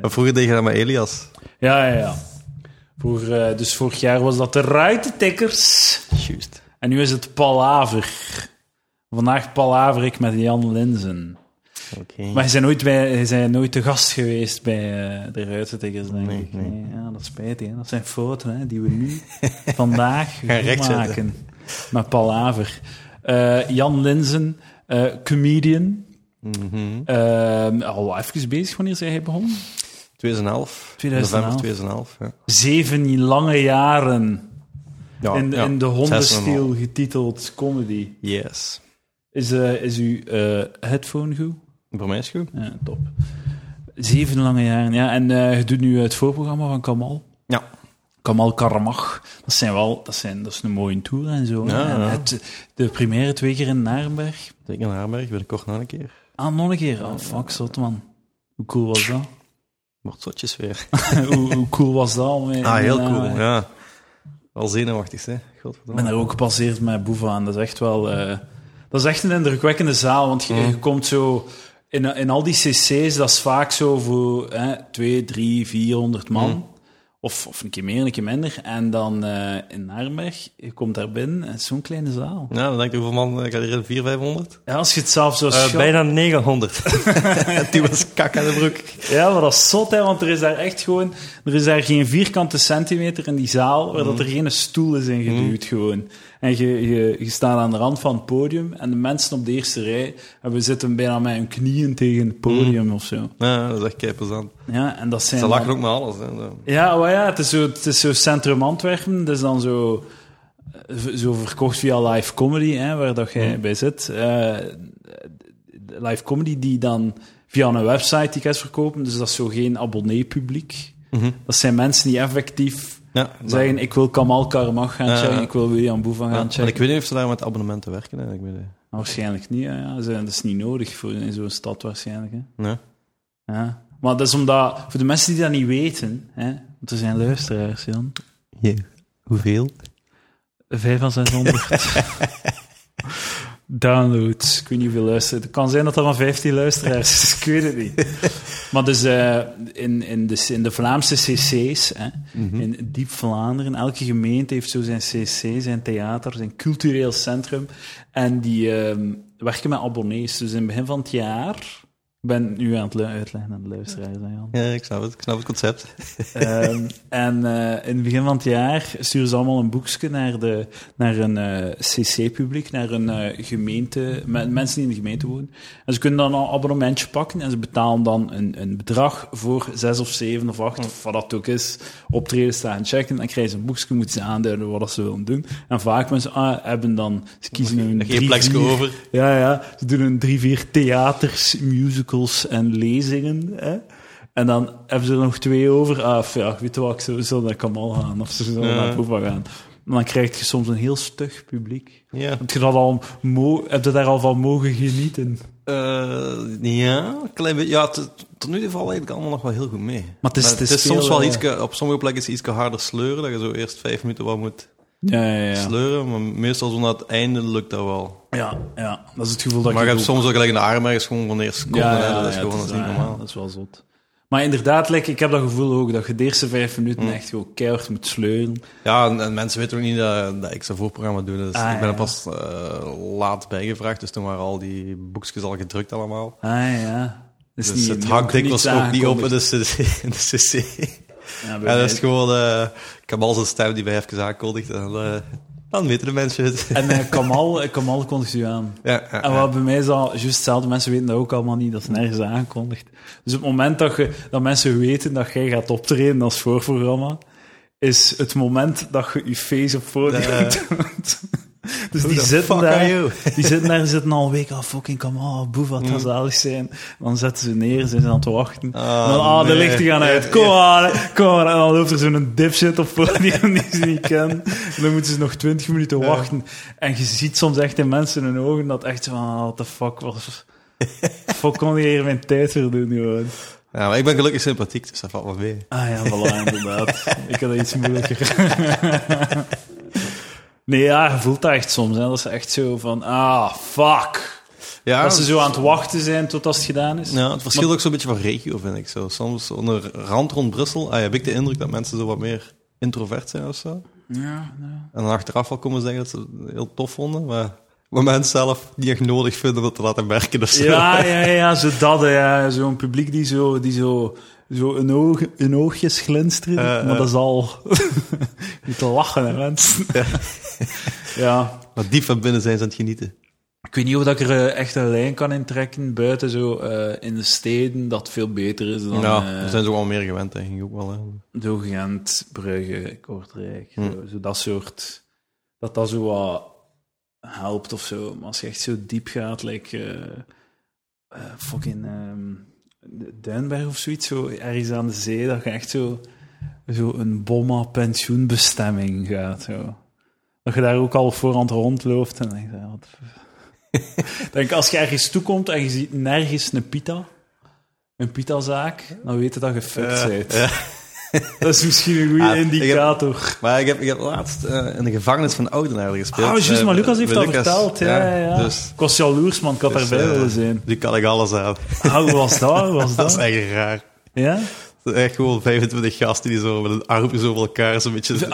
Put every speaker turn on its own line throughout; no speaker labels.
Maar vroeger deed je dat met Elias.
Ja, ja, ja. Voor, eh, dus vorig jaar was dat de Ruitentikkers.
Juist.
En nu is het Palaver. Vandaag Palaver ik met Jan Linzen.
Oké.
Maar je zijn nooit, bij, je zijn nooit te gast geweest bij eh, de Ruitentikkers, denk
Nee,
ik.
nee.
Ja, dat is spijtig. Hè? Dat zijn fouten hè, die we nu vandaag
Gaan rechtzetten.
maken. Met Palaver. Eh, Jan Linzen, eh, comedian.
Mhm.
Ehm, al even bezig wanneer zij hij begon.
2011.
2011.
November 2011. Ja.
Zeven lange jaren
Ja,
in,
ja.
in de
Zes en een half.
hondenstiel getiteld comedy.
Yes.
Is, eh, is uw eh, headphone goed?
Voor mij is het goed.
Ja, top. Zeven lange jaren, ja. En eh, je doet nu het voorprogramma van Kamal.
Ja.
Kamal Karamach. Dat, zijn wel, dat, zijn, dat is een mooie tour en zo. hè.
Ja,
En
ja.
het- de première twee keer in Narenberg.
Ik in Haarberg, binnenkort nog een keer.
Ah, nog een keer. Oh, fuck, zot man. Hoe cool was dat?
Wordt zotjes weer.
hoe, hoe cool was dat? om in-
Ah, heel
in, eh,
cool. Ja. Al zenuwachtig, hè.
Ik ben
Godverdomme.
daar ook gepasseerd met Boeva aan. Dat is echt wel... eh, dat is echt een indrukwekkende zaal, want je, je komt zo... In, in al die cc's, dat is vaak zo voor hè, twee, drie, vierhonderd man. Of, of een keer meer, een keer minder. En dan eh, in Narenberg, je komt daar binnen, en het is zo'n kleine zaal.
Ja, dan denk ik, hoeveel man eh, gaat hier in? 400, 500?
Ja, als je het zelf zo
Eh,
schat-
bijna 900. Die was kak aan de broek.
Ja, maar dat is zot, hè, want er is daar echt gewoon... Er is daar geen vierkante centimeter in die zaal waar
Mhm.
dat er geen stoel is ingeduwd, gewoon. En je, je, je staat aan de rand van het podium en de mensen op de eerste rij hebben zitten bijna met hun knieën tegen het podium of zo.
Ja, dat is echt keipezant.
Ja, en eh, dat zijn...
Mhm. Ze
dan-
lachen ook met alles. Hè. Zo.
Ja, maar ja, het is zo, het is zo Centrum Antwerpen, dus dan zo... eh, v- Zo verkocht via live comedy, hè, waar dat
Mm.
jij bij zit. Eh, live comedy die dan via een website tickets verkopen, dus dat is zo geen abonneepubliek.
Mhm.
Dat zijn mensen die effectief
Ja,
zeggen: Ik wil Kamal Karmach gaan
Ja,
checken,
ja.
ik wil William Boevan
Ja,
gaan
maar
checken.
ik weet niet of ze daar met abonnementen werken. Hè. Ik weet het.
Maar Waarschijnlijk niet, ja, ja. Ze- dat is niet nodig voor in zo'n stad, waarschijnlijk. Hè.
Nee.
Ja. Maar dat is omdat, voor de mensen die dat niet weten, hè, want er zijn luisteraars, Jan.
Hoeveel?
Vijf van 600. Downloads. Ik weet niet hoeveel luisteren. Het kan zijn dat er van 15 luisteraars is. Ik weet het niet. Maar dus eh, in, in, de, in de Vlaamse cc's, hè,
Mhm.
in diep Vlaanderen, elke gemeente heeft zo zijn cc, zijn theater, zijn cultureel centrum. En die ehm, werken met abonnees. Dus in het begin van het jaar... Ik ben nu aan het lu- uitleggen aan de luisteraars, hè, Jan.
Ja, ik snap het. Ik snap het concept.
Ehm, en eh, in het begin van het jaar sturen ze allemaal een boekje naar, de, naar een CC-publiek, naar een eh, gemeente, me- mensen die in de gemeente wonen. En ze kunnen dan een abonnementje pakken en ze betalen dan een, een bedrag voor zes of zeven of acht, of wat dat ook is, optreden staan checken. Dan krijgen ze een boekje, moeten ze aanduiden wat dat ze willen doen. En vaak mensen ah, hebben dan, ze kiezen hun
Geen plekje
vier-
over.
ja, ja. Ze doen een drie, vier theaters, musicals en lezingen. Hè? En dan hebben ze er nog twee over. Ah, f- ja, ik weet wel, ze zullen naar Kamal gaan of ze zullen
Ja.
naar Boeva gaan. En dan krijg je soms een heel stug publiek.
Ja.
Heb je, dat al mo heb je daar al van mogen genieten?
Eh, ja, een klein beetje. Ja, t- tot nu toe valt eigenlijk allemaal nog wel heel goed mee.
Maar het is- het is veel,
soms wel
eh,
iets, op sommige plekken is het iets harder sleuren, dat je zo eerst vijf minuten wat moet
Ja, ja, ja.
sleuren, maar meestal zo naar het einde lukt dat wel.
Ja, ja. Dat is het gevoel dat
Maar
ik
je hebt
ook-
soms ook gelijk in de armen ergens gewoon van de eerste seconde, hè, dat is
ja,
gewoon
het
dat is niet
waar,
normaal.
ja, dat is wel zot. Maar inderdaad, like, ik heb dat gevoel ook, dat je de eerste vijf minuten
Mm.
echt gewoon keihard moet sleuren.
Ja, en, en mensen weten ook niet dat, dat ik zo'n voorprogramma doe, dus
Ah,
ik ben
ja.
er pas eh, laat bijgevraagd, dus toen waren al die boekjes al gedrukt allemaal.
Ah ja. Dat is
Dus
niet-
het
ook
hakt dikwijls
niet
ook niet op in
aangekondigd.
de cc. In de cc.
Ja, bij
Ja, dat
mij-
is gewoon... eh, ik heb al zo'n stem die bij even aankondigt. En, eh, dan weten de mensen het.
En eh, Kamal, eh, Kamal kondigt u aan.
ja, ja,
En
ja.
wat bij mij is dat juist hetzelfde. Mensen weten dat ook allemaal niet, dat is nergens aangekondigd. Dus op het moment dat, je, dat mensen weten dat jij gaat optreden als voorprogramma, is het moment dat je je face op podium
Ja.
doet. Dus
Who
die
the
zitten,
fuck are
daar,
you? Mm.
die zitten daar en zitten al een week af, fucking Kamal, boef, wat dat zalig zijn. Dan zetten ze neer, zijn ze aan het wachten.
Ah,
En dan, ah, de
nee.
lichten gaan uit,
Ja,
kom
ja.
maar, kom maar. En dan loopt er zo'n dipshit op podium die ze niet kennen. En dan moeten ze nog twintig minuten wachten. En je ziet soms echt in mensen hun ogen dat echt zo van, ah, what the fuck was... Fuck, kon je hier mijn tijd weer doen, gewoon.
Ja, maar ik ben gelukkig sympathiek, dus dat valt wel mee.
Ah ja, voilà, inderdaad. Ik had het iets moeilijker. nee, ja, je voelt dat echt soms. Hè. Dat is echt zo van, ah, fuck.
Ja.
Dat ze zo aan het wachten zijn tot als het gedaan is.
Ja, het verschilt ook zo'n beetje van regio, vind ik. Zo. Soms onder rand rond Brussel ah, heb ik de indruk dat mensen zo wat meer introvert zijn of zo.
Ja, ja.
En dan achteraf wel komen zeggen dat ze het heel tof vonden, maar wat mensen zelf niet echt nodig vinden om het te laten merken of zo.
ja, ja, ja, zo dat. hè, Ja. Zo'n publiek die zo, die zo, zo een, oog, een oogjes glinsteren.
Eh,
maar
eh.
dat is al niet te lachen, hè, mensen. ja.
Maar diep van binnen zijn ze aan het genieten.
Ik weet niet of dat ik er eh, echt een lijn kan intrekken buiten zo eh, in de steden, dat veel beter is dan
ja,
eh,
daar zijn ze ook wel meer gewend, denk ik ook wel. Hè.
zo Gent, Brugge, Kortrijk,
Hm.
zo, zo dat soort. Dat dat zo wat helpt of zo. Maar als je echt zo diep gaat, like eh, eh, fucking ehm, Duinberg of zoiets, zo ergens aan de zee, dat je echt zo, zo een bomma pensioenbestemming gaat. Zo. Dat je daar ook al voorhand rondloopt en denk je, wat... denk als je ergens toekomt en je ziet nergens een pita, een pita-zaak, dan weet je dat je fucked
Eh,
bent.
ja.
Dat is misschien een goede
Ah, ik heb-
indicator.
Maar ik heb, ik heb laatst eh, in de gevangenis van Oudenaarde gespeeld.
Ah, juist,
Eh,
maar Lucas heeft
bij
dat verteld. Ja, ja, ja.
Dus,
Ik was jaloers, man. Ik had
dus,
daarbij
eh,
willen zijn.
Nu kan ik alles aan.
Ah, hoe was dat? Hoe was
Dat is
dat?
echt raar.
Ja?
Het is echt gewoon 25 gasten die zo met een arm zo over elkaar zo'n beetje...
A25,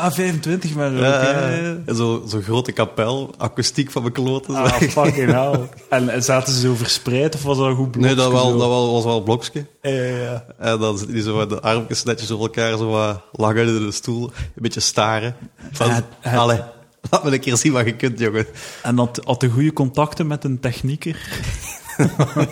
Ah, maar ook.
Eh,
hè.
en zo- Zo'n grote kapel, akoestiek van mijn kloten.
Ah, fucking hell. En en zaten ze zo verspreid of was dat een goed blokje?
nee, dat, wel,
zo?
dat wel, was wel een blokje.
Ja, ja, ja.
En dan zitten die zo met de armpjes netjes over elkaar, zo wat lang uit de stoel, een beetje staren. Van,
Het- het-
allee, laat me een keer zien wat je kunt, jongen.
En had, had de goede contacten met een technieker.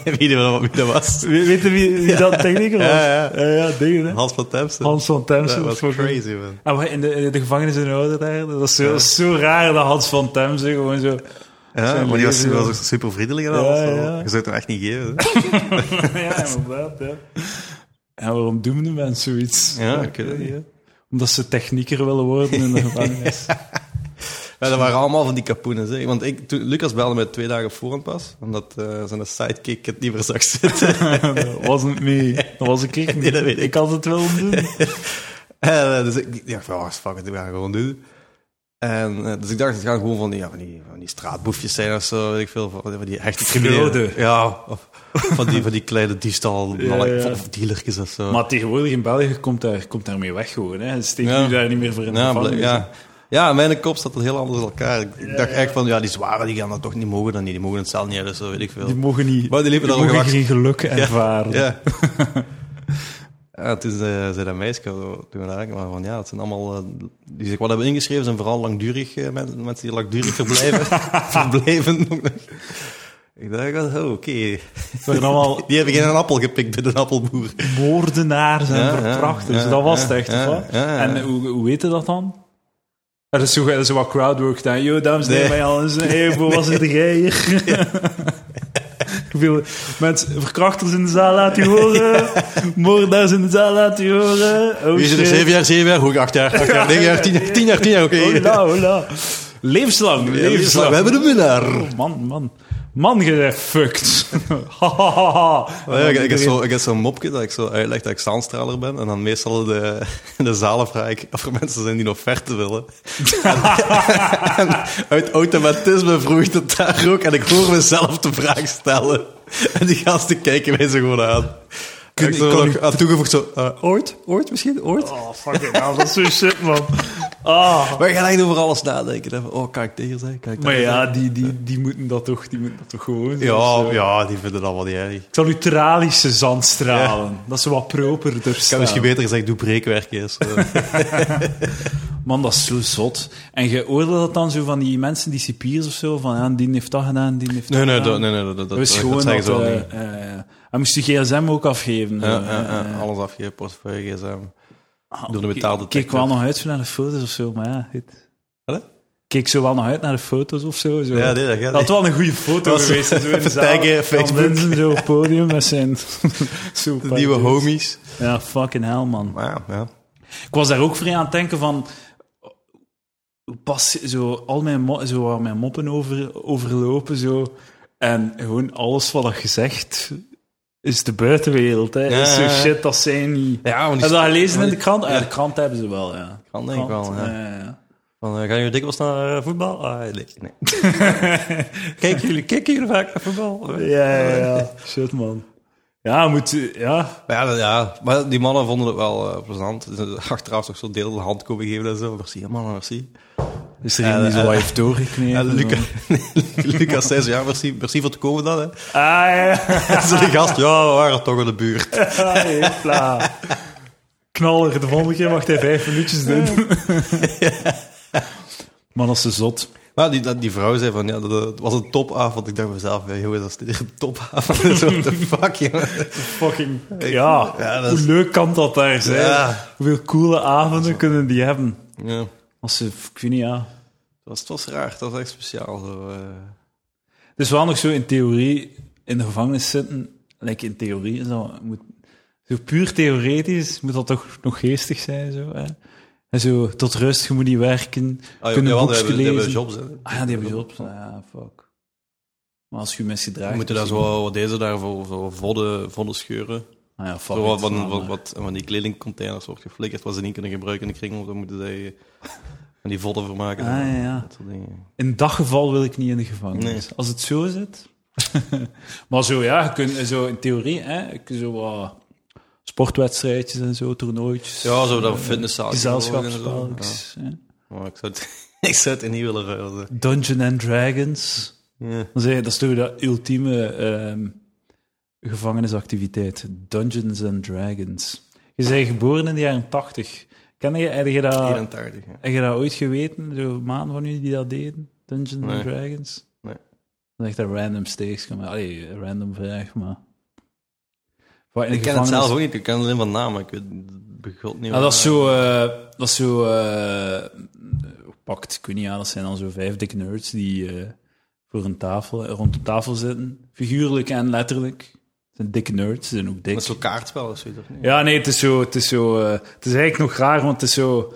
Weet je wel wat dat was?
We- weet je wie, wie dat technieker was?
Ja, ja.
ja, dingen, hè.
Hans van Temsen.
Hans van Temsen.
Dat was
fucking-
crazy, man.
Ah, maar in de, in de gevangenis in Ouder daar, dat is zo, dat is zo raar dat Hans van Temsen gewoon zo...
Ja,
Zijn
maar die was,
leven,
was
ja.
ook super vriendelijk en
Ja,
alles. zo.
ja.
Je zou het hem echt niet geven.
ja, inderdaad, ja. En waarom doen de mensen zoiets?
Ja,
Dat
ik weet
weet
het niet.
je. Omdat ze technieker willen worden in de gevangenis.
Ja, dat waren allemaal van die kapoenen. Zeg. Want ik, toen, Lucas belde me twee dagen voorhand pas, omdat eh, zijn sidekick het niet meer zag zitten.
dat wasn't me. Dat was ik echt niet.
Nee, dat weet ik.
ik had het wel doen.
En, eh, dus ik dacht, van, oh, fuck it, we gaan gewoon doen. En, eh, dus ik dacht, het gaan gewoon van die, ja, van, die, van die straatboefjes zijn of zo, weet ik veel, van, van die echte criminelen.
Fraude.
Ja, of van die, van die kleine diefstal,
Ja,
of-
ja.
of dealertjes of zo.
Maar tegenwoordig in België komt daar, komt daar mee weg gewoon. Hè. Steek je
Ja.
daar niet meer voor in de
ja, blijk-
gevangenis.
ja. ja, in mijn kop zat het heel anders in elkaar. Ik ik dacht echt van, ja, die zware die gaan dat toch niet mogen dan niet. Die mogen het zelf niet hebben, zo weet ik veel.
Die mogen niet...
Maar die liepen
die
daar al
mogen
gewacht.
geen geluk ervaren.
Ja. ja, toen ze- zei dat meisje, zo, toen we daar eigenlijk waren van ja, het zijn allemaal, eh, die zich wat hebben ingeschreven, zijn vooral langdurig, eh, men- mensen die langdurig verblijven. verblijven ook nog. Ik dacht, wel, oh, oké.
Het waren allemaal
Die hebben Oh, geen appel gepikt bij de appelboer.
moordenaars en
Ja, ja,
verkrachters.
ja,
dat was het
ja,
echt,
ja,
of wat?
ja, ja.
En hoe, hoe weet je dat dan? Dat is zo, dat is zo wat crowdwork dan. Yo, dames en heren,
Nee.
bij alles. Hey, hoe was het jij hier? Hoeveel mensen, verkrachters in de zaal laat u horen. Moordenaars in de zaal laat u horen. Oh,
Wie zit er
shit.
zeven jaar, zeven jaar, hoe acht jaar, acht jaar, negen jaar, tien jaar, tien jaar, tien jaar, oké.
Hola, hola. Levenslang, levenslang.
We hebben de winnaar.
Oh, man, man. Man, je bent fucked. Ha, ha, ha, ha.
Oh ja, ik, ik heb zo- ik heb zo'n mopje dat ik zo uitleg dat ik zaanstraler ben. En dan meestal de, de zalen vraag ik of er mensen zijn die een offerte willen. en, en uit automatisme vroeg ik het daar ook. En ik hoor mezelf de vraag stellen. En die gasten kijken mij zo gewoon aan. En ik
ik
zo
kan Ah.
nog aan toegevoegd zo, eh, ooit? Ooit misschien? Ooit?
Oh, fucking hell, dat is zo shit, man. Ah.
Maar je gaat echt over alles nadenken. hè. Van, Oh, kan ik tegen zijn? Kan ik
Maar
tegen
ja, die, die, die moeten dat toch, die moeten dat toch gewoon dus, eh,
zijn?
doen, zo.
Ja, ja, die vinden dat wel niet erg.
Ik zal uw tralische zand stralen. Dat is wat properder
Ik
staan.
heb misschien beter gezegd, doe breekwerk eens.
Man, dat is zo zot. En je oordeelt dat dan zo van die mensen, die cipiers of zo, van ja, die heeft dat gedaan, die heeft
Nee,
dat
nee,
gedaan.
dat, nee, nee, dat, dat,
dat is
dat
gewoon
zeggen
dat...
ze wel
eh,
niet.
eh, hij moest de gsm ook afgeven.
Ja,
eh,
ja, ja,
eh.
alles afgeven, portefeuille, gsm.
Ah,
door de
ik-
metaaldetector.
Ik keek wel nog uit zo naar de foto's of zo, maar ja, het...
Hè?
Ik keek zo wel nog uit naar de foto's of zo. zo.
Ja, nee, dat gaat
Dat had wel een goede foto
Dat was-
geweest. Zo in de zaal.
Taggen,
Dan
Facebook.
mensen zo op het podium met zijn zo
De nieuwe homies.
Ja, fucking hell, man.
Maar ja, ja.
Ik was daar ook vrij aan het denken van... hoe Pas zo al mijn, mo- zo waar mijn moppen over, overlopen, zo. En gewoon alles wat dat gezegd is de buitenwereld, hè.
Ja,
Is zo
ja, ja.
shit, dat zijn niet...
Ja, want
Heb je dat gelezen in
want
de krant? Ja,
ja.
de krant hebben ze wel, ja.
Krant denk ik wel, ja.
ja, ja.
Van, eh, gaan jullie dikwijls naar eh, voetbal? Ah, nee. nee. kijken, jullie, kijken jullie vaak naar voetbal?
Ja, ja, ja. Shit, man. Ja, moet... Ja.
Maar Ja, dat- ja, maar die mannen vonden het wel eh, plezant. Dus, eh, Achteraf toch zo deel de hand komen geven en zo. Merci, hè, mannen, merci.
Is er
iemand die zo wat heeft
doorgeknepen?
En Eh, Luca, Lucas zei zo, ja, merci, merci voor te komen dan. Hè.
Ah, ja.
En zo die gast, ja, we waren toch in de buurt.
Hopla. Knaller, de volgende keer mag hij vijf minuutjes doen. Man, dat is ze zot.
Maar die, dat- die vrouw zei van, ja, dat, dat was een topavond. Ik dacht bij mezelf, ja, jongen, dat is niet echt een topavond. zo, what the fuck, jongen.
Fucking, ja.
Ja, dat
Hoe
is-
leuk kan dat daar zijn?
Ja.
Hoeveel coole avonden kunnen die hebben?
Ja, het
Als ze, ik weet niet, ja.
was, het was raar, het was echt speciaal. Zo, eh.
Het is wel nog zo in theorie in de gevangenis zitten. Like in theorie is dat, moet, zo puur theoretisch moet dat toch nog geestig zijn. Zo, hè? En zo tot rust, je moet niet werken.
Ah,
kunnen
jawel, die
boekjes
hebben, die hebben
lezen.
jobs, hè.
Ah ja, die hebben jobs. Ja, fuck. Maar als je mensen draagt...
We moeten daar zo wat deze daarvoor zo vodden, vodden scheuren.
Ah ja, fuck
Zo wat,
it,
wat,
laat
wat,
maar.
wat- van die kledingcontainers wordt geflikkerd, wat ze niet kunnen gebruiken in de kringloop, dan moeten zij eh, van die vodden vermaken.
Ah, ja, ja.
Dat soort dingen.
In dat geval wil ik niet in de gevangenis. Als het zo zit. maar zo ja, je kunt, zo in theorie, hè, je kunt zo wat sportwedstrijdjes en zo, toernooitjes.
Ja, zo dat fitnesszaal.
Gezelschapsspel. hè.
Ja. Maar ik zou, het, ik zou het niet willen ruilen.
Dungeon and Dragons.
Ja.
Dan zeg je, dat is toch dat ultieme ehm, gevangenisactiviteit. Dungeons and Dragons. Je bent geboren in de jaren 80. Ken je, heb je dat,
84, ja.
heb je dat ooit geweten? De maan van jullie die dat deden? Dungeons
Nee.
and Dragons?
Nee.
Dat is echt een random steeks. maar- Allee, een random vraag, maar... Wat in de
Ik ken het
gevangenis-
zelf ook niet, ik ken alleen van namen. Ik weet begot niet
Ah,
waar-
dat is zo... eh, dat is zo... eh, pakt, ik weet niet aan, dat zijn dan zo vijf dikke nerds die eh, voor een tafel, rond de tafel zitten. Figuurlijk en letterlijk. Het zijn dikke nerds, ze zijn ook dik.
Dat is zo'n kaartspel of zoiets, of niet?
Ja, nee, het is zo... Het is, zo, eh, het is eigenlijk nog raar, want het is zo...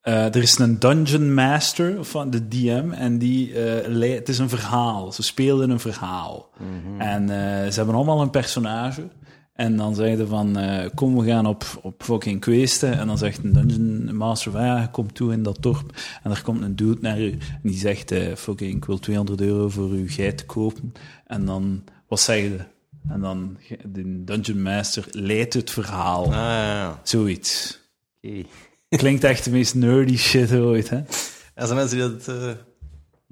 eh, er is een dungeon master van de DM en die eh, lei- het is een verhaal. Ze spelen een verhaal. En eh, ze hebben allemaal een personage. En dan zeiden van, eh, kom we gaan op, op fucking questen. En dan zegt een dungeon master van, ja, kom toe in dat dorp. En er komt een dude naar u en die zegt, eh, fucking, ik wil 200 euro voor uw geit kopen. En dan, wat zeggen ze? En dan, ge- de dungeon master leidt het verhaal.
Ah, ja, ja.
Zoiets.
Oké.
Klinkt echt de meest nerdy shit ooit, hè?
Er zijn mensen die dat eh,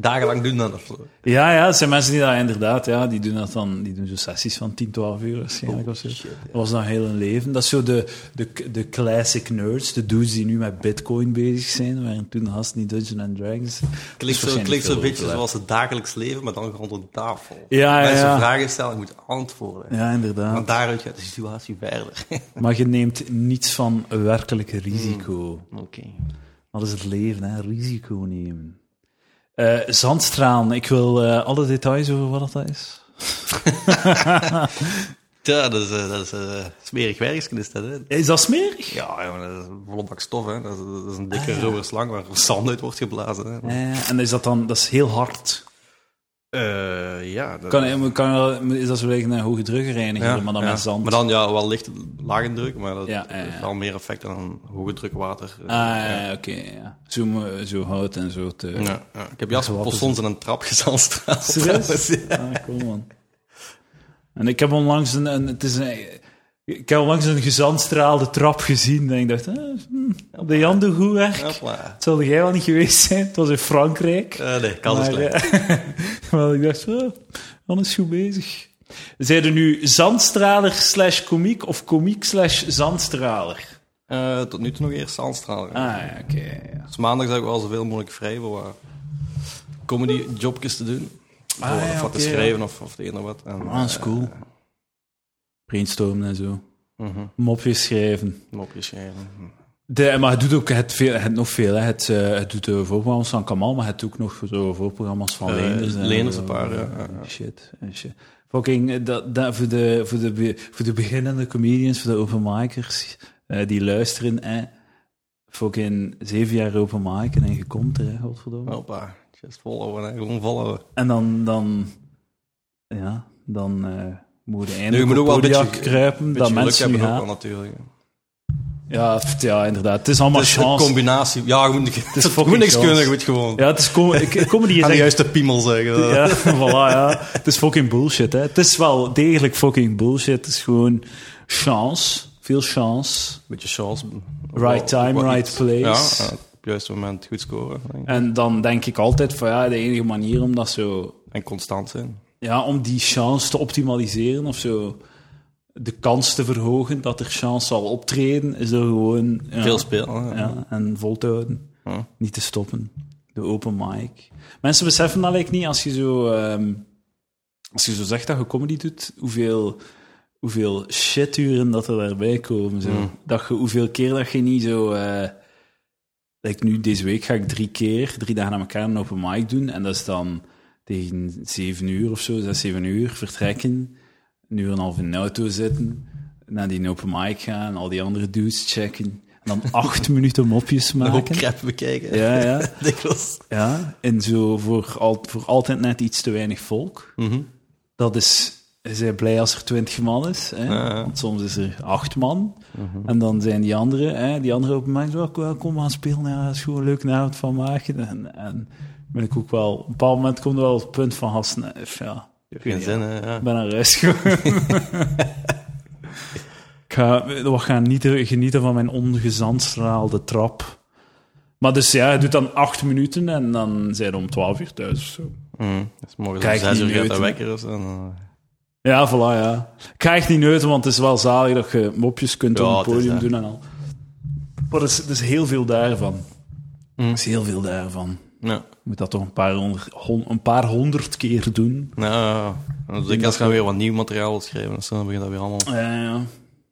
dagenlang doen dan of zo.
Ja, ja, het zijn mensen die dat inderdaad, ja, die doen dat dan, die doen zo sessies van 10, 12 uur waarschijnlijk of
Oh,
zo. Dat was dan heel hun leven. Dat is zo de, de, de classic nerds, de dudes die nu met bitcoin bezig zijn, waren toen haast niet Dungeons and Dragons. Dus
Klinkt zo, klinkt zo een
waarschijnlijk
beetje
veel
zoals het dagelijks leven, maar dan rond een tafel.
Ja, ja,
Mensen
ja.
vragen stellen, je moet antwoorden.
Ja, inderdaad.
Want daaruit gaat de situatie verder.
Maar je neemt niets van werkelijk
Hmm.
risico.
Oké.
Dat is het leven, hè? Risico nemen. Eh zandstraan, ik wil eh, alle details over wat dat is.
Ja, dat is, eh, dat is eh, smerig werkje is dus dat, hè?
Is dat smerig?
Ja, jongen, dat is een volle bak stof, hè? Dat is, dat is
Ah,
een dikke rubber slang waar zand uit wordt geblazen. Hè?
Eh, en is dat dan, dat is heel hard.
Eh, ja, dat
Kan, kan, is dat zo tegen een hoge drukreiniger,
ja,
maar dan
ja.
met zand?
Maar dan, ja, wel licht lage druk, maar dat
Ja, ja, ja.
heeft wel meer effect dan hoge eh, druk water.
Ah, ja, ja, oké. ja. Zo, mo- zo hout en zo te...
Ja, ja. Ik heb jas
Wat is
soms in een trap gezandstraat.
Serieus? Ah, cool, man. En ik heb onlangs een... een- het is een ik heb onlangs een gezandstraalde trap gezien. En ik dacht, eh, hm, de Jan doet goed werk.
Hopla.
Het zou jij wel niet geweest zijn. Het was in Frankrijk.
Eh, nee, kans is
Maar,
klein.
eh, maar ik dacht, oh, Jan is goed bezig. Zijn er nu zandstraler slash komiek of komiek slash zandstraler?
Eh, tot nu toe nog eerst zandstralen.
Ah, ja, oké. ja.
Dus maandag zou ik wel zoveel mogelijk vrij voor eh, comedy-jobjes te doen.
Ah,
Voor-
ja,
of wat
oké,
te schrijven of, of het een of wat. En,
Ah, dat is cool. Brainstormen en zo.
eh, mhm,
Mopjes schrijven.
mopjes schrijven.
De, maar het doet ook het veel, het nog veel. Hè. Het, eh, het doet de voorprogramma's van Kamal, maar het doet ook nog zo voorprogramma's van
Eh,
Leenders. en
Leenders
zo. Ah,
een paar, ja,
eh.
ja, ja.
Shit, en shit. Fucking, eh, dat, dat, voor, de, voor, de, be- voor de beginnende comedians, voor de openmakers eh, die luisteren. Eh, fucking zeven jaar openmaken en je komt er, hè, godverdomme.
Hoppa, just followen, hè. gewoon followen.
En dan, dan ja, dan eh moet je
je
eindelijk
moet
op
ook wel een
Kodiak
beetje-
kruipen,
Een
dat
beetje geluk
mensen nu
hebben ook
haat.
wel natuurlijk. hè.
Ja, pff, ja, inderdaad. Het is allemaal
Het is Dus een
chance.
combinatie. Ja, je moet,
is
je
fucking
moet niks
chance.
kunnen, je moet gewoon
ja, het is co- ik- comedy is
aan de
echt-
juiste piemel zeggen.
Ja, voilà, ja. Het is fucking bullshit, hè. Het is wel degelijk fucking bullshit. Het is gewoon chance. Veel chance.
Beetje chance.
Right time,
Wat
right
iets.
place.
Ja, ja, op het juiste moment goed scoren. denk ik.
En dan denk ik altijd van, ja, de enige manier om dat zo...
En constant zijn.
Ja, om die chance te optimaliseren of zo... De kans te verhogen dat er chance zal optreden, is er gewoon... ja,
Veel spelen. hè.
Ja, en vol te houden.
Ja.
Niet te stoppen. De open mic. Mensen beseffen dat lijkt niet als je zo... ehm, als je zo zegt dat je comedy doet, hoeveel, hoeveel shituren dat er daarbij komen. Zo.
Hmm.
Dat je, hoeveel keer dat je niet zo... eh like nu, deze week ga ik drie keer, drie dagen aan elkaar een open mic doen. En dat is dan tegen zeven uur of zo, zes, zeven uur, vertrekken. Een uur en een half in de auto zitten. Naar die open mic gaan, al die andere dudes checken. En dan acht minuten mopjes
Een hoop
maken.
crap bekijken.
Ja, ja.
Dikwijls.
Ja, en zo voor, al, voor altijd net iets te weinig volk.
Mhm.
Dat is, ze zijn blij als er twintig man is. Hè?
Ja, ja.
Want soms is er acht man. En dan zijn die anderen, hè, die anderen open mic, wel, wel, kom aan spelen, ja, dat is gewoon een leuke avond van maken. En, en ben ik ook wel, op een bepaald moment komt er wel het punt van, gasten, eh, ja, ik weet
Geen
niet,
zin, hè, ja.
ik ben naar huis gegaan. ik ga, we gaan niet genieten van mijn ongezandstraalde trap. Maar dus ja, je doet dan acht minuten en dan zijn we om twaalf uur thuis of zo.
Mhm. Dus morgens
Kijk,
om zes
die
uur gaat dat
neuten.
wekker of zo. en dan, eh,
Ja, voilà, ja. Ik ga echt niet neuten, want het is wel zalig dat je mopjes kunt
Ja,
op het
het is
podium
dat.
doen en al. Maar er is, er is heel veel daarvan. Er is heel veel daarvan.
Ja.
Je moet dat toch een paar honderd, hon- een paar honderd keer doen.
Nou, ja, ja. Dus ik als gaan weer wat nieuw materiaal wil schrijven. Dus dan begint dat weer allemaal
Ja, ja.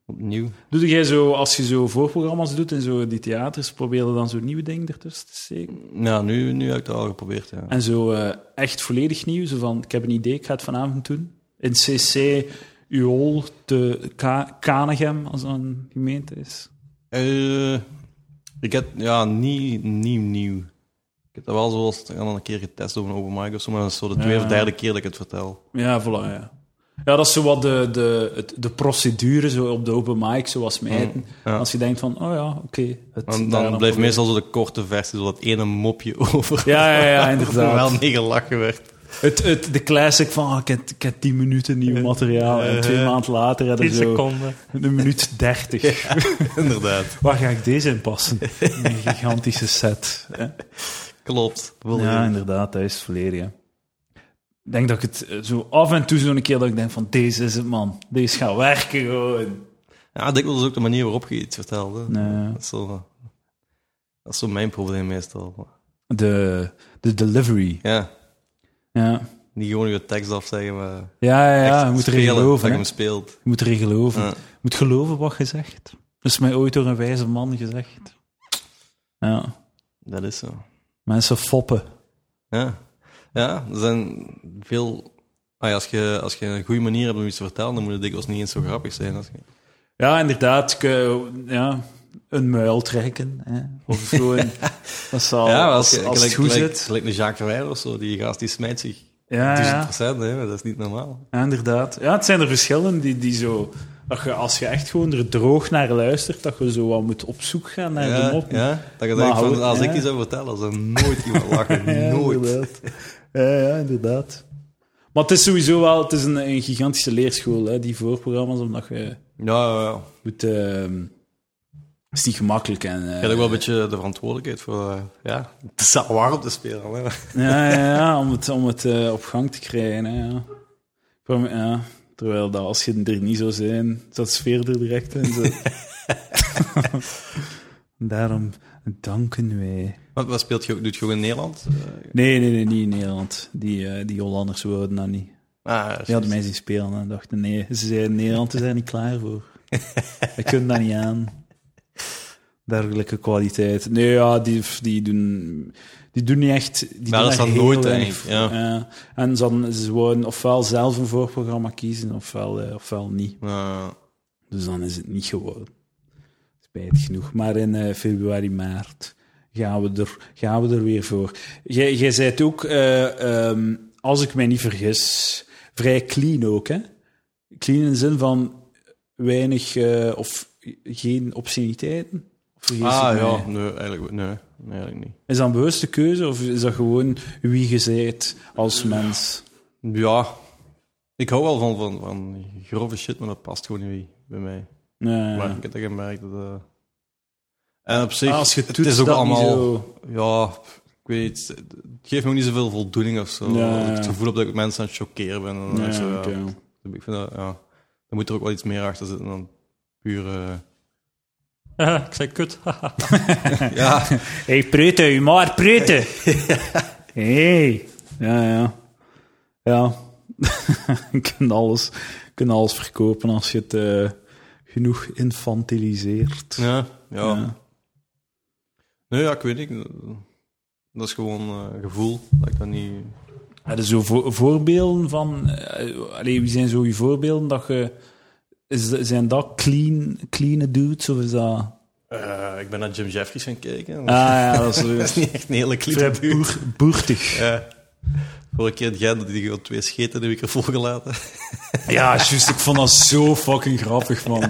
opnieuw.
Doe jij zo, als je zo voorprogramma's doet en zo die theaters, probeer je dan zo'n nieuwe ding ertussen te steken?
Ja, nu, nu heb ik dat al geprobeerd, ja.
En zo eh, echt volledig nieuw, zo van, ik heb een idee, ik ga het vanavond doen. In CC UOL te Ka Kanegem, als dat een gemeente is.
Eh, ik heb, ja, niet nieuw, nieuw. Ik heb dat wel zoals ik al een keer getest over een open mic of zo, maar dat is zo de tweede
Ja.
of derde keer dat ik het vertel.
Ja, voilà, ja. Ja, dat is zo wat de, de, het- de procedure zo op de open mic, zoals mijten.
Mm, ja.
Als je denkt van, oh ja, oké. het
En
daar
dan blijft
proberen.
meestal zo de korte versie, zo dat ene mopje over.
Ja, ja, ja, inderdaad.
wel niet gelachen werd.
Het, het, de classic van, ah, ik, heb, ik heb 10 minuten nieuw materiaal. En twee maanden later hebben ze zo
Eh, seconden.
een minuut 30.
Inderdaad,
Waar ga ik deze in passen? Een gigantische set. hè?
klopt. Wil
Ja,
je-
inderdaad, dat is het verleden. ja. Ik denk dat ik het eh, zo af en toe zo'n keer dat ik denk van, deze is het man. Deze gaat werken gewoon.
Ja, dikwijls is ook de manier waarop je iets vertelde.
Nee.
Dat, is zo, eh, dat is zo mijn probleem meestal.
De, de delivery.
Ja,
Ja,
niet gewoon je tekst afzeggen, maar
ja, ja, ja
echt
je moet erin
spelen,
geloven.
dat je
hè.
hem speelt.
Je moet erin geloven.
Ja.
Je moet geloven wat je zegt. Dat is mij ooit door een wijze man gezegd. Ja.
Dat is zo.
Mensen foppen.
Ja, ja er zijn veel. Ah ja, als, je, als je een goede manier hebt om iets te vertellen, dan moet het dikwijls niet eens zo grappig zijn. Als je...
Ja, inderdaad. ke- Ja, een muil trekken. Hè. Of gewoon... dat zal,
ja,
als,
je-
als, het
gelijk-
goed
gelijk-
zit.
Gelijk een Jacques Verweijer of zo, die gast die smijt zich
Ja,
duizend
ja,
procent, hè, maar dat is niet normaal.
ja, inderdaad. Ja, het zijn er verschillen die, die zo... Dat je, als je echt gewoon er droog naar luistert, dat je zo wat moet op zoek gaan naar
ja,
de mop.
ja, dat je
Maar
denkt, van,
hou-
als ik
ja.
die zou vertellen, zou nooit iemand lachen.
Ja,
nooit.
inderdaad. Ja, ja, inderdaad. Maar het is sowieso wel... Het is een, een gigantische leerschool, hè, die voorprogramma's, omdat je
Ja, ja, ja.
moet... ehm, het is niet gemakkelijk. En, eh,
Je hebt ook wel een beetje de verantwoordelijkheid voor eh, ja, het is wel warm te spelen. Hè.
Ja, ja, ja om het, om het eh, op gang te krijgen. Hè, ja. Ik wou me- ja. Terwijl dat, als je er niet zou zijn, zat sfeer er direct in. Zo. Daarom danken wij.
Wat, wat speelt je ook? Doet je ook in Nederland? Eh,
Nee, nee, nee, niet in Nederland. Die, eh, die Hollanders wouden dat niet.
ah,
Die hadden mij zien spelen en dachten, nee, ze zeiden, Nederland is daar niet klaar voor. We kunnen daar niet aan. Dergelijke kwaliteit. Nee, ja, die, die, doen, die doen niet echt... Die
Ja,
doen
dat
daar
is dan
heel
nooit
weinig
eigenlijk,
voor. Ja. En ze, hadden- ze wouden ofwel zelf een voorprogramma kiezen, ofwel, eh, ofwel niet.
Ja.
Dus dan is het niet geworden. Spijtig genoeg. Maar in eh, februari, maart gaan we er, gaan we er weer voor. Jij, jij zei het ook, eh, ehm, als ik mij niet vergis, vrij clean ook. Hè? Clean in de zin van weinig eh, of geen obsceniteiten? Of vergis
Ah
ik mij?
ja, nee, eigenlijk, nee, nee, eigenlijk niet.
Is dat een bewuste keuze of is dat gewoon wie je zijt als mens?
Ja, ik hou wel van, van, van grove shit, maar dat past gewoon niet bij mij.
Ja.
Maar ik heb dat gemerkt. Dat, eh, En op zich,
Als je
het
doet
is ook
dat niet
allemaal...
zo-
Ja, ik weet niet. Het geeft me ook niet zoveel voldoening of zo.
Ja,
Als ik
ja.
het gevoel heb dat ik mensen aan het chockeren ben. En dan
Ja,
is zo, ja,
oké.
Ik vind dat, ja, er moet er ook wel iets meer achter zitten dan puur... eh,
ik zei kut.
ja,
Hé, hey, pruten, u maar pruten. hey. Ja, ja. Ja. je kunt alles, je kunt alles verkopen als je het eh, genoeg infantiliseert.
ja, ja.
Ja.
Nee, ja, ik weet niet. Dat is gewoon eh, gevoel. Dat ik dat niet...
Heb je zo voor- voorbeelden van... eh, allee, wie zijn zo je voorbeelden dat je... Is, zijn dat clean, clean dudes of is dat...
Eh, ik ben naar Jim Jeffries gaan kijken.
Ah ja, dat is
dat is niet echt een hele
vrij
kliep.
boer, boertig.
Ja. Vorige keer in Gent, die gewoon twee scheten in de microfoon gelaten.
Ja, juist. Ik vond dat zo fucking grappig, man.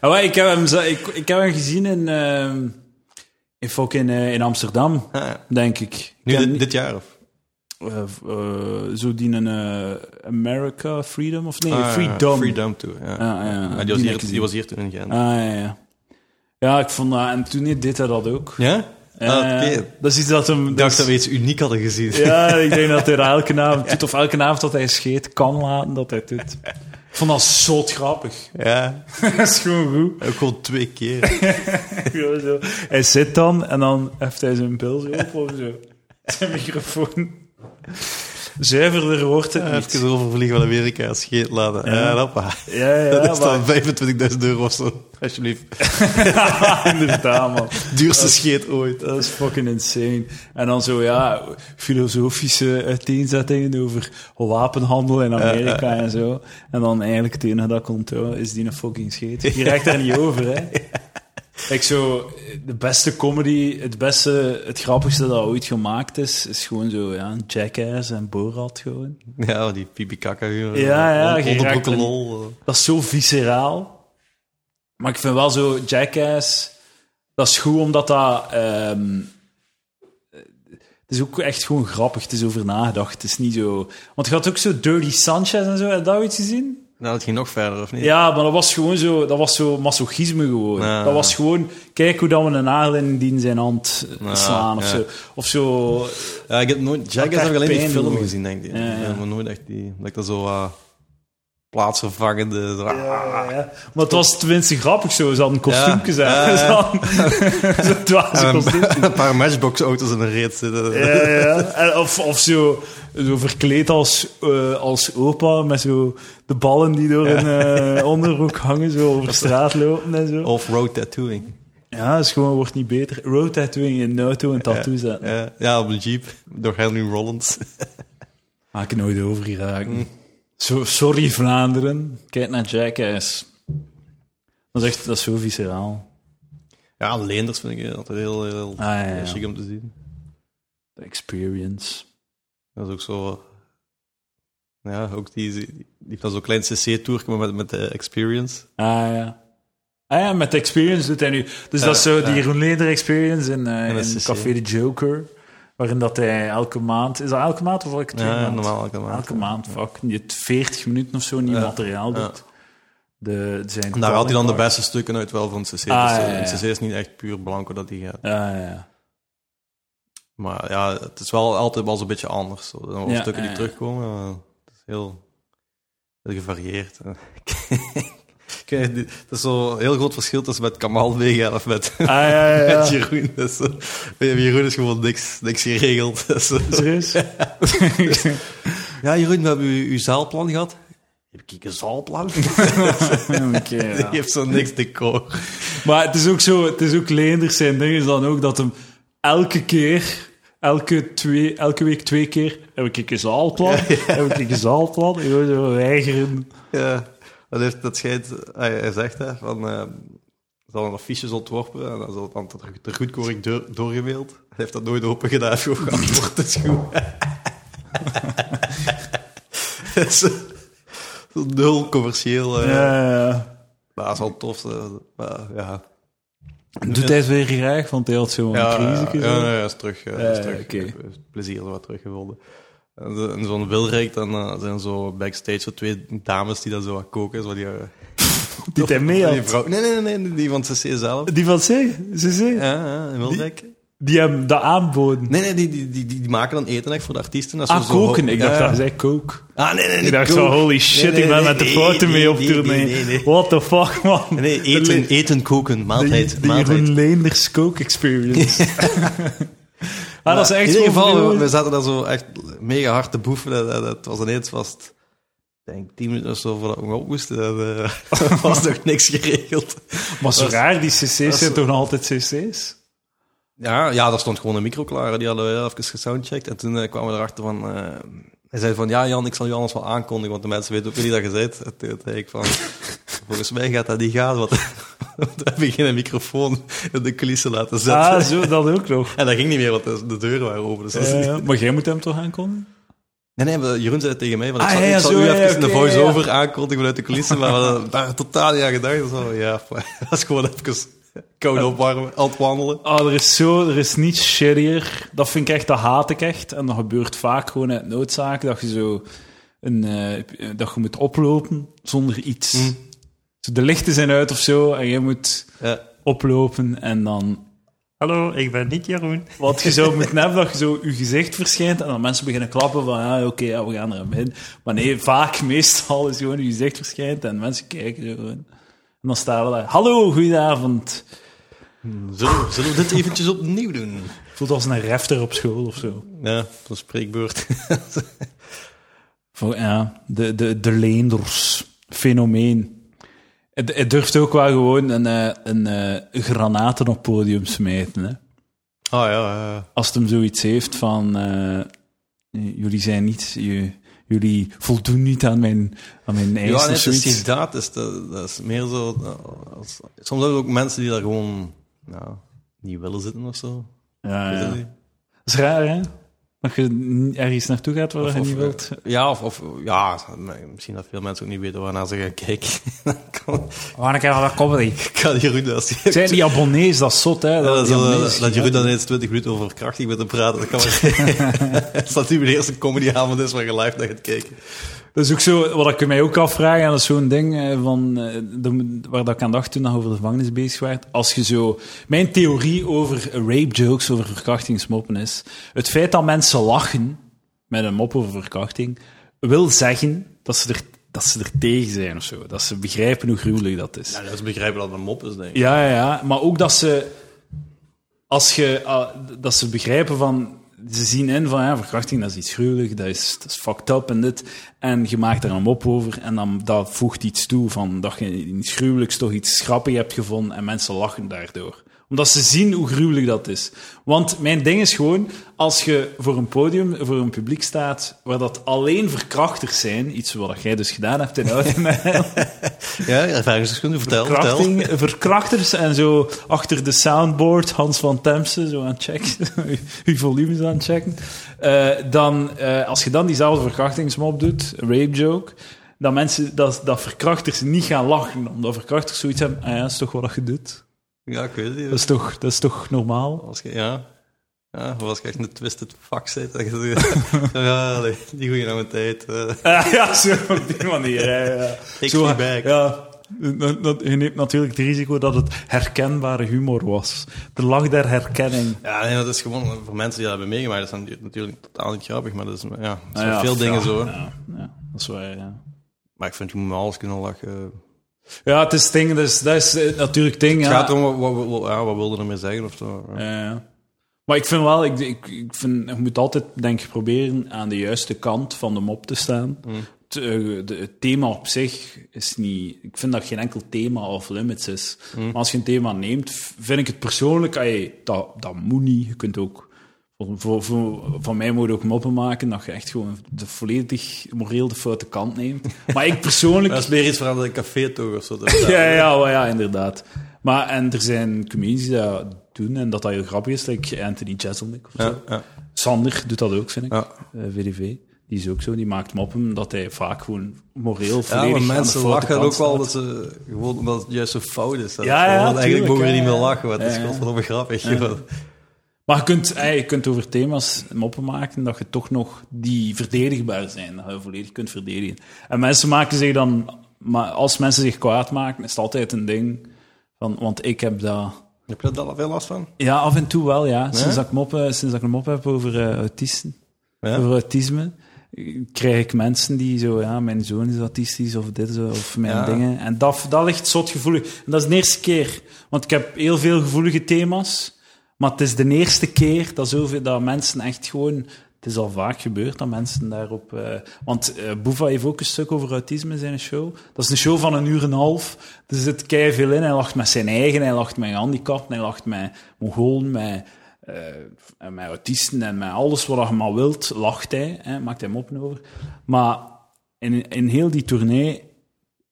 Ah, maar ik, heb hem, zo- ik, ik heb hem gezien in, ehm, in, fucking, eh, in Amsterdam,
Ah, ja.
denk ik.
Nu,
Ik heb
dit,
niet-
dit jaar of?
eh, eh, zo die een eh, America Freedom, of nee,
Ah, ja,
Freedom. Ah,
Freedom Tour, ja.
Ja, ja, ja.
Maar
Die
die, was
heb
hier,
ik
die
gezien.
was hier toen in Gent.
Ah, ja, ja. Ja, ik vond dat... En toen deed hij dat ook.
Ja?
Eh,
Ah, Oké. Ik
Dat is iets dat hem... dat
dacht
is-
dat we iets uniek hadden gezien.
Dus- Ja, ik denk dat hij dat elke avond doet. Of elke avond dat hij scheet, kan laten dat hij het doet. Ik vond dat zot grappig.
Ja,
dat is gewoon goed.
Ook gewoon twee keer.
Ja, zo. Hij zit dan en dan heft hij zijn pil zo op of zo. Zijn microfoon. Zuiverder wordt het niet.
Even overvliegen van Amerika en scheet laten. Ja, hoppa.
Ja, ja,
dat is
maar-
dan 25.000 euro of zo. Alsjeblieft.
inderdaad, man.
Duurste scheet ooit.
Dat is fucking insane. En dan zo, ja, filosofische uiteenzettingen over wapenhandel in Amerika en zo. En dan eigenlijk het enige dat ik onthoud is die een fucking scheet. Je raakt daar niet over, hè. Kijk, zo, de beste comedy, het beste, het grappigste dat ooit gemaakt is, is gewoon zo, ja, Jackass en Borat gewoon.
Ja, maar die pipikakka.
Ja, ja, je raakt er
Onderbroeken
niet-
lol.
Dat is zo visceraal. Maar ik vind wel zo Jackass... Dat is goed, omdat dat... ehm, eh, het is ook echt gewoon grappig. Het is over nagedacht. Het is niet zo... Want je had ook zo Dirty Sanchez en zo. Heb je dat ooit gezien?
Nou, dat ging nog verder, of niet?
Ja, maar dat was gewoon zo... Dat was zo masochisme gewoon.
Ja.
Dat was gewoon... Kijk hoe dat we een nagel in die in zijn hand eh,
Ja,
slaan of
ja.
zo. Of zo...
Ja, ik heb nooit... Jackass
echt
heb ik alleen die
pijn
film
doen.
gezien, denk ik.
Ja, ja.
Ja, maar nooit echt die... Dat ik dat zo... eh, plaatsvervangende... Zo, ah,
Ja. Maar het was tenminste grappig zo. Ze hadden kostuumjes
Ja.
aan.
Ja.
Ze hadden- Zo'n dwaze
en
kostuum.
een, een paar matchbox-auto's in een reet zitten.
Ja, ja. En Of, of zo, zo verkleed als, eh, als opa, met zo de ballen die door een eh, onderhoek hangen, zo over straat lopen en zo.
Off-road tattooing.
Ja, dat is gewoon, wordt niet beter. Road tattooing in een auto en tattoo zetten.
Ja, ja, op een jeep. Door Henry Rollins.
Ga ik nooit over geraken. Zo, sorry Vlaanderen, Hm. kijk naar Jackass. Dat is echt, dat is zo visceraal.
Ja, Leenders vind ik altijd heel, heel
Ah, ja, ja.
chic om te zien.
De experience.
Dat is ook zo... Ja, ook die, die heeft dan zo'n klein cc-tour maar met, met de experience.
Ah ja. Ah ja, met de experience doet hij nu. Dus dat is zo die Jeroen Leder experience in, eh,
dat is
in
dus,
Café de Joker. Waarin dat hij elke maand... Is dat elke maand of elke twee
Ja,
maanden?
normaal elke maand.
Elke maand, fuck. Je hebt 40 minuten of zo nieuw
Ja,
materiaal
ja.
doet. De, zijn
En daar haalt hij dan de
calling
beste stukken uit wel van CC. dus
Ah, ja,
eh,
ja, ja.
CC is niet echt puur blanco dat hij gaat.
card. Ah, ja, ja.
Maar ja, het is wel altijd wel zo'n beetje anders. Zo. Er zijn wel
Ja,
stukken die
ja, ja.
terugkomen. maar het is heel, heel gevarieerd. Kijk, dit- het is zo'n heel groot verschil tussen met Kamal meegaan of met,
Ah, ja, ja, ja.
met Jeroen. Dus, eh, bij Jeroen is gewoon niks, niks geregeld. Dus, eh,
Serieus?
ja, Jeroen, we hebben uw, uw zaalplan gehad. Heb ik een zaalplan?
Oké, ja.
Je hebt zo niks decor.
Maar het is ook zo, het is ook Leenders zijn ding is dan ook dat hem elke keer, elke, twee, elke week twee keer, heb ik een zaalplan, heb ik een zaalplan, gewoon zo weigeren.
Ja, dat, heeft, dat schijnt, hij, hij zegt hè, van, eh, ze hadden affiches ontworpen en dan zal het dan ter, ter goedkoring door, doorgemaild. Hij heeft dat nooit open gedaan, heeft gewoon geantwoord, het is goed. Dat is, eh, nul commercieel. eh.
Ja, ja, ja.
Dat is wel tof. eh, maar ja.
Doet hij het weer graag, want hij had zo'n
Ja,
crisis.
ja, ja, ja, is terug. eh, is
Eh,
terug.
oké.
Ik heb, eh, Plezier wat teruggevonden. En zo- en zo'n wilrijk, dan eh, zijn zo backstage zo twee dames die dat zo aan koken. Zo die, eh,
Die hij mee
die
had.
vrouw, nee, nee, nee, nee, die van CC zelf.
Die van C, CC.
Ja, ja, in Wilrijk.
Die hem dat aanboden.
Nee, nee, die, die, die, die maken dan eten echt voor de artiesten. Dat ze
ah,
zo-
koken. Ik dacht,
Ja, ja.
dat zei kook.
Ah, nee, nee, nee.
Ik dacht
koken.
zo, holy shit,
Nee, nee,
ik ben
nee,
met de
nee,
fouten
nee,
mee op
nee,
tournee.
nee, nee.
What the fuck, man.
Nee, eten, eten, koken, maaltijd.
De, de
maaltijd.
Jeroen Leenders Coke Experience. ah, dat is
Maar
echt
in ieder geval, we,
overnieuw.
we zaten daar zo echt mega hard te boeven. Dat, dat, dat was ineens vast, ik denk tien minuten of zo voordat we op moesten. Dat eh, was nog niks geregeld.
Maar zo
dat is-
raar, die cc's zijn
is-
toch nog altijd cc's?
Ja, ja, daar stond gewoon een micro klaar. hè. Die hadden we heel even gesoundcheckt. En toen eh, kwamen we erachter van... eh, hij zei van, ja Jan, ik zal je anders wel aankondigen, want de mensen weten ook niet dat je bent. En toen zei ik van, volgens mij gaat dat niet gaan, want we hebben geen microfoon in de coulissen laten zetten.
Ah, zo, dat ook nog.
En dat ging niet meer, want de, de deuren waren open. Dus dat is
Ja,
niet-
ja. maar jij moet hem toch aankondigen?
Nee, nee, maar Jeroen zei het tegen mij. Van, ik
Ah,
zal,
ja, ja,
ik zal
zo,
u
ja,
even
ja,
een
oké,
voice-over aankondigen vanuit de coulissen, maar we hadden daar totaal niet aan gedacht. Dus wel, ja, dat is gewoon even koud opwarmen, aan het wandelen.
Ah, er is zo, er is niets shittier. Dat vind ik echt, dat haat ik echt. En dat gebeurt vaak gewoon uit noodzaak, dat je zo een, eh, dat je moet oplopen zonder iets.
Mm.
Zo, de lichten zijn uit of zo, en jij moet
Ja.
oplopen en dan
Hallo, ik ben niet Jeroen.
Wat je zou moeten hebben, dat je zo je gezicht verschijnt en dan mensen beginnen klappen van, ja, oké, ja, we gaan er aan in. Maar nee, vaak, meestal is gewoon je gezicht verschijnt en mensen kijken zo gewoon. En dan staan we daar, hallo, goedenavond.
Zullen, we- zullen we dit eventjes opnieuw doen?
Voelt als een refter op school of zo.
Ja, een spreekbeurt.
Voor, ja, de, de, de leenders. Fenomeen. Het, het durft ook wel gewoon een, eh, een, eh, granaten op podium smijten, hè.
Ah ja, ja, ja.
als het hem zoiets heeft van eh, eh, jullie zijn niet, je- jullie voldoen niet aan mijn, aan mijn eisen
Ja,
of
nee, het is
zoiets.
niet dat. het is de- dat is meer zo... eh, als- soms hebben we ook mensen die daar gewoon nou, niet willen zitten of zo.
Ja,
Weet
ja.
je
Dat
niet?
is raar, hè? Dat je n- ergens naartoe gaat waar
Of-
je
of,
niet
eh,
wilt.
Ja, of, of ja, misschien dat veel mensen ook niet weten waarnaar ze gaan kijken. Dan kan-
Wanneer kan dat comedy?
kan Jeroen dat als die-
Zijn die abonnees, dat is zot, hè?
Ja, dat is
die
wel,
abonnees-
eh, dat Jeroen dan eens 20 minuten over krachtig met hem praten, dat kan wel. Als dat nu de eerste comedyavond is waar je live naar gaat kijken.
Dat is ook zo, wat ik mij ook afvraag, en dat is zo'n ding eh, van, eh, dat moet- waar dat ik aan dacht toen dat over de gevangenis bezig werd. Als je zo, mijn theorie over rape jokes, over verkrachtingsmoppen is, het feit dat mensen lachen met een mop over verkrachting, wil zeggen dat ze er, dat ze er tegen zijn of zo. Dat ze begrijpen hoe gruwelijk dat is.
Ja, dat is begrijpen dat het een mop is, denk ik.
Ja, ja, ja. Maar ook dat ze, als je, ah, dat ze begrijpen van... Ze zien in van, ja, verkrachting, dat is iets gruwelijk, dat is, dat is fucked up en dit. En je maakt er een mop over en dan, dat voegt iets toe van dat je iets gruwelijks toch iets grappigs hebt gevonden en mensen lachen daardoor. Omdat ze zien hoe gruwelijk dat is. Want mijn ding is gewoon, als je voor een podium, voor een publiek staat waar dat alleen verkrachters zijn, iets wat jij dus gedaan hebt in Oudenaar,
Ja, ervaringsdeskundige, vertel, vertel.
Verkrachting, verkrachters en zo achter de soundboard Hans van Temse zo aan het checken, uw volumes aan het checken. Eh, dan, eh, als je dan diezelfde verkrachtingsmop doet, een rape joke, dat, mensen, dat, dat verkrachters niet gaan lachen, omdat verkrachters zoiets hebben, ah ja, dat is toch wat je doet?
Ja, ik weet het
Dat
niet.
is toch, dat is toch normaal?
Als je, ja. Ja, of als je echt een twisted fuck zit, dan je zo- ja, nee, die goeie nou een tijd. eh.
Ah, ja, zo op die manier. hè, ja.
Takes
Zo,
me back.
Ja, dat, dat- je neemt natuurlijk het risico dat het herkenbare humor was. De lach der herkenning.
Ja, nee, dat is gewoon, voor mensen die dat hebben meegemaakt, dat is dan natuurlijk totaal niet grappig, maar dat is, ja, dat zijn
Ah ja,
veel
ja,
dingen zo.
Ja, ja, dat is waar, ja.
Maar ik vind, je moet met alles kunnen lachen.
Ja, het is het ding, dus, dat is eh, natuurlijk het ding.
Het
ja.
gaat erom, wat, wat, wat, ja, wat wilde er mee zeggen of zo. Ja.
Ja, ja. maar ik vind wel, ik, ik, ik vind, je moet altijd, denk ik, proberen aan de juiste kant van de mop te staan.
Mm.
Het, eh, de- het thema op zich is niet... Ik vind dat geen enkel thema of limits is.
Mm.
Maar als je een thema neemt, v- vind ik het persoonlijk... ey, dat, dat moet niet. Je kunt ook... Voor, voor, voor- van mij moet je ook moppen maken dat je echt gewoon de volledig moreel de foute kant neemt. Maar ik persoonlijk...
Dat is meer iets van aan de café toch of zo.
Ja, ja, wel ja, inderdaad. Maar en er zijn comedies die dat doen en dat dat heel grappig is, like Anthony Jeselnik of zo.
ja.
Sander doet dat ook, vind ik.
Ja.
Eh, VDV. Die is ook zo, die maakt moppen omdat hij vaak gewoon moreel
Ja,
volledig
maar
aan de
mensen
foute
lachen
kant
ook wel
staat.
dat ze gewoon omdat het juist zo fout is. Dat
Ja,
is gewoon,
ja,
want eigenlijk
tuurlijk,
mogen we
ja,
niet meer
ja.
lachen, want het
Ja,
is
ja.
godverdomme grappig. gewoon.
Maar je kunt, eh, je kunt over thema's moppen maken dat je toch nog die verdedigbaar zijn, dat je volledig kunt verdedigen. En mensen maken zich dan, maar als mensen zich kwaad maken, is het altijd een ding van, want ik heb dat.
Heb je daar al veel last van?
Ja, af en toe wel, ja.
Ja?
Sinds, dat ik moppen, sinds dat ik een mop heb over eh, autisten,
Ja?
over autisme, eh, krijg ik mensen die zo, ja, mijn zoon is autistisch of dit zo, of mijn
Ja.
dingen. En dat, dat ligt zot gevoelig. En dat is de eerste keer, want ik heb heel veel gevoelige thema's, maar het is de eerste keer dat, zoveel, dat mensen echt gewoon. Het is al vaak gebeurd dat mensen daarop. eh, want eh Boeva heeft ook een stuk over autisme in zijn show. Dat is een show van een uur en een half. Dus Er zit keihard veel in. Hij lacht met zijn eigen, hij lacht met handicap, hij lacht met Mongolen, met eh, en met autisten en met alles wat je maar wilt, lacht hij, hè, maakt hij moppen over. Maar in, in heel die tournee,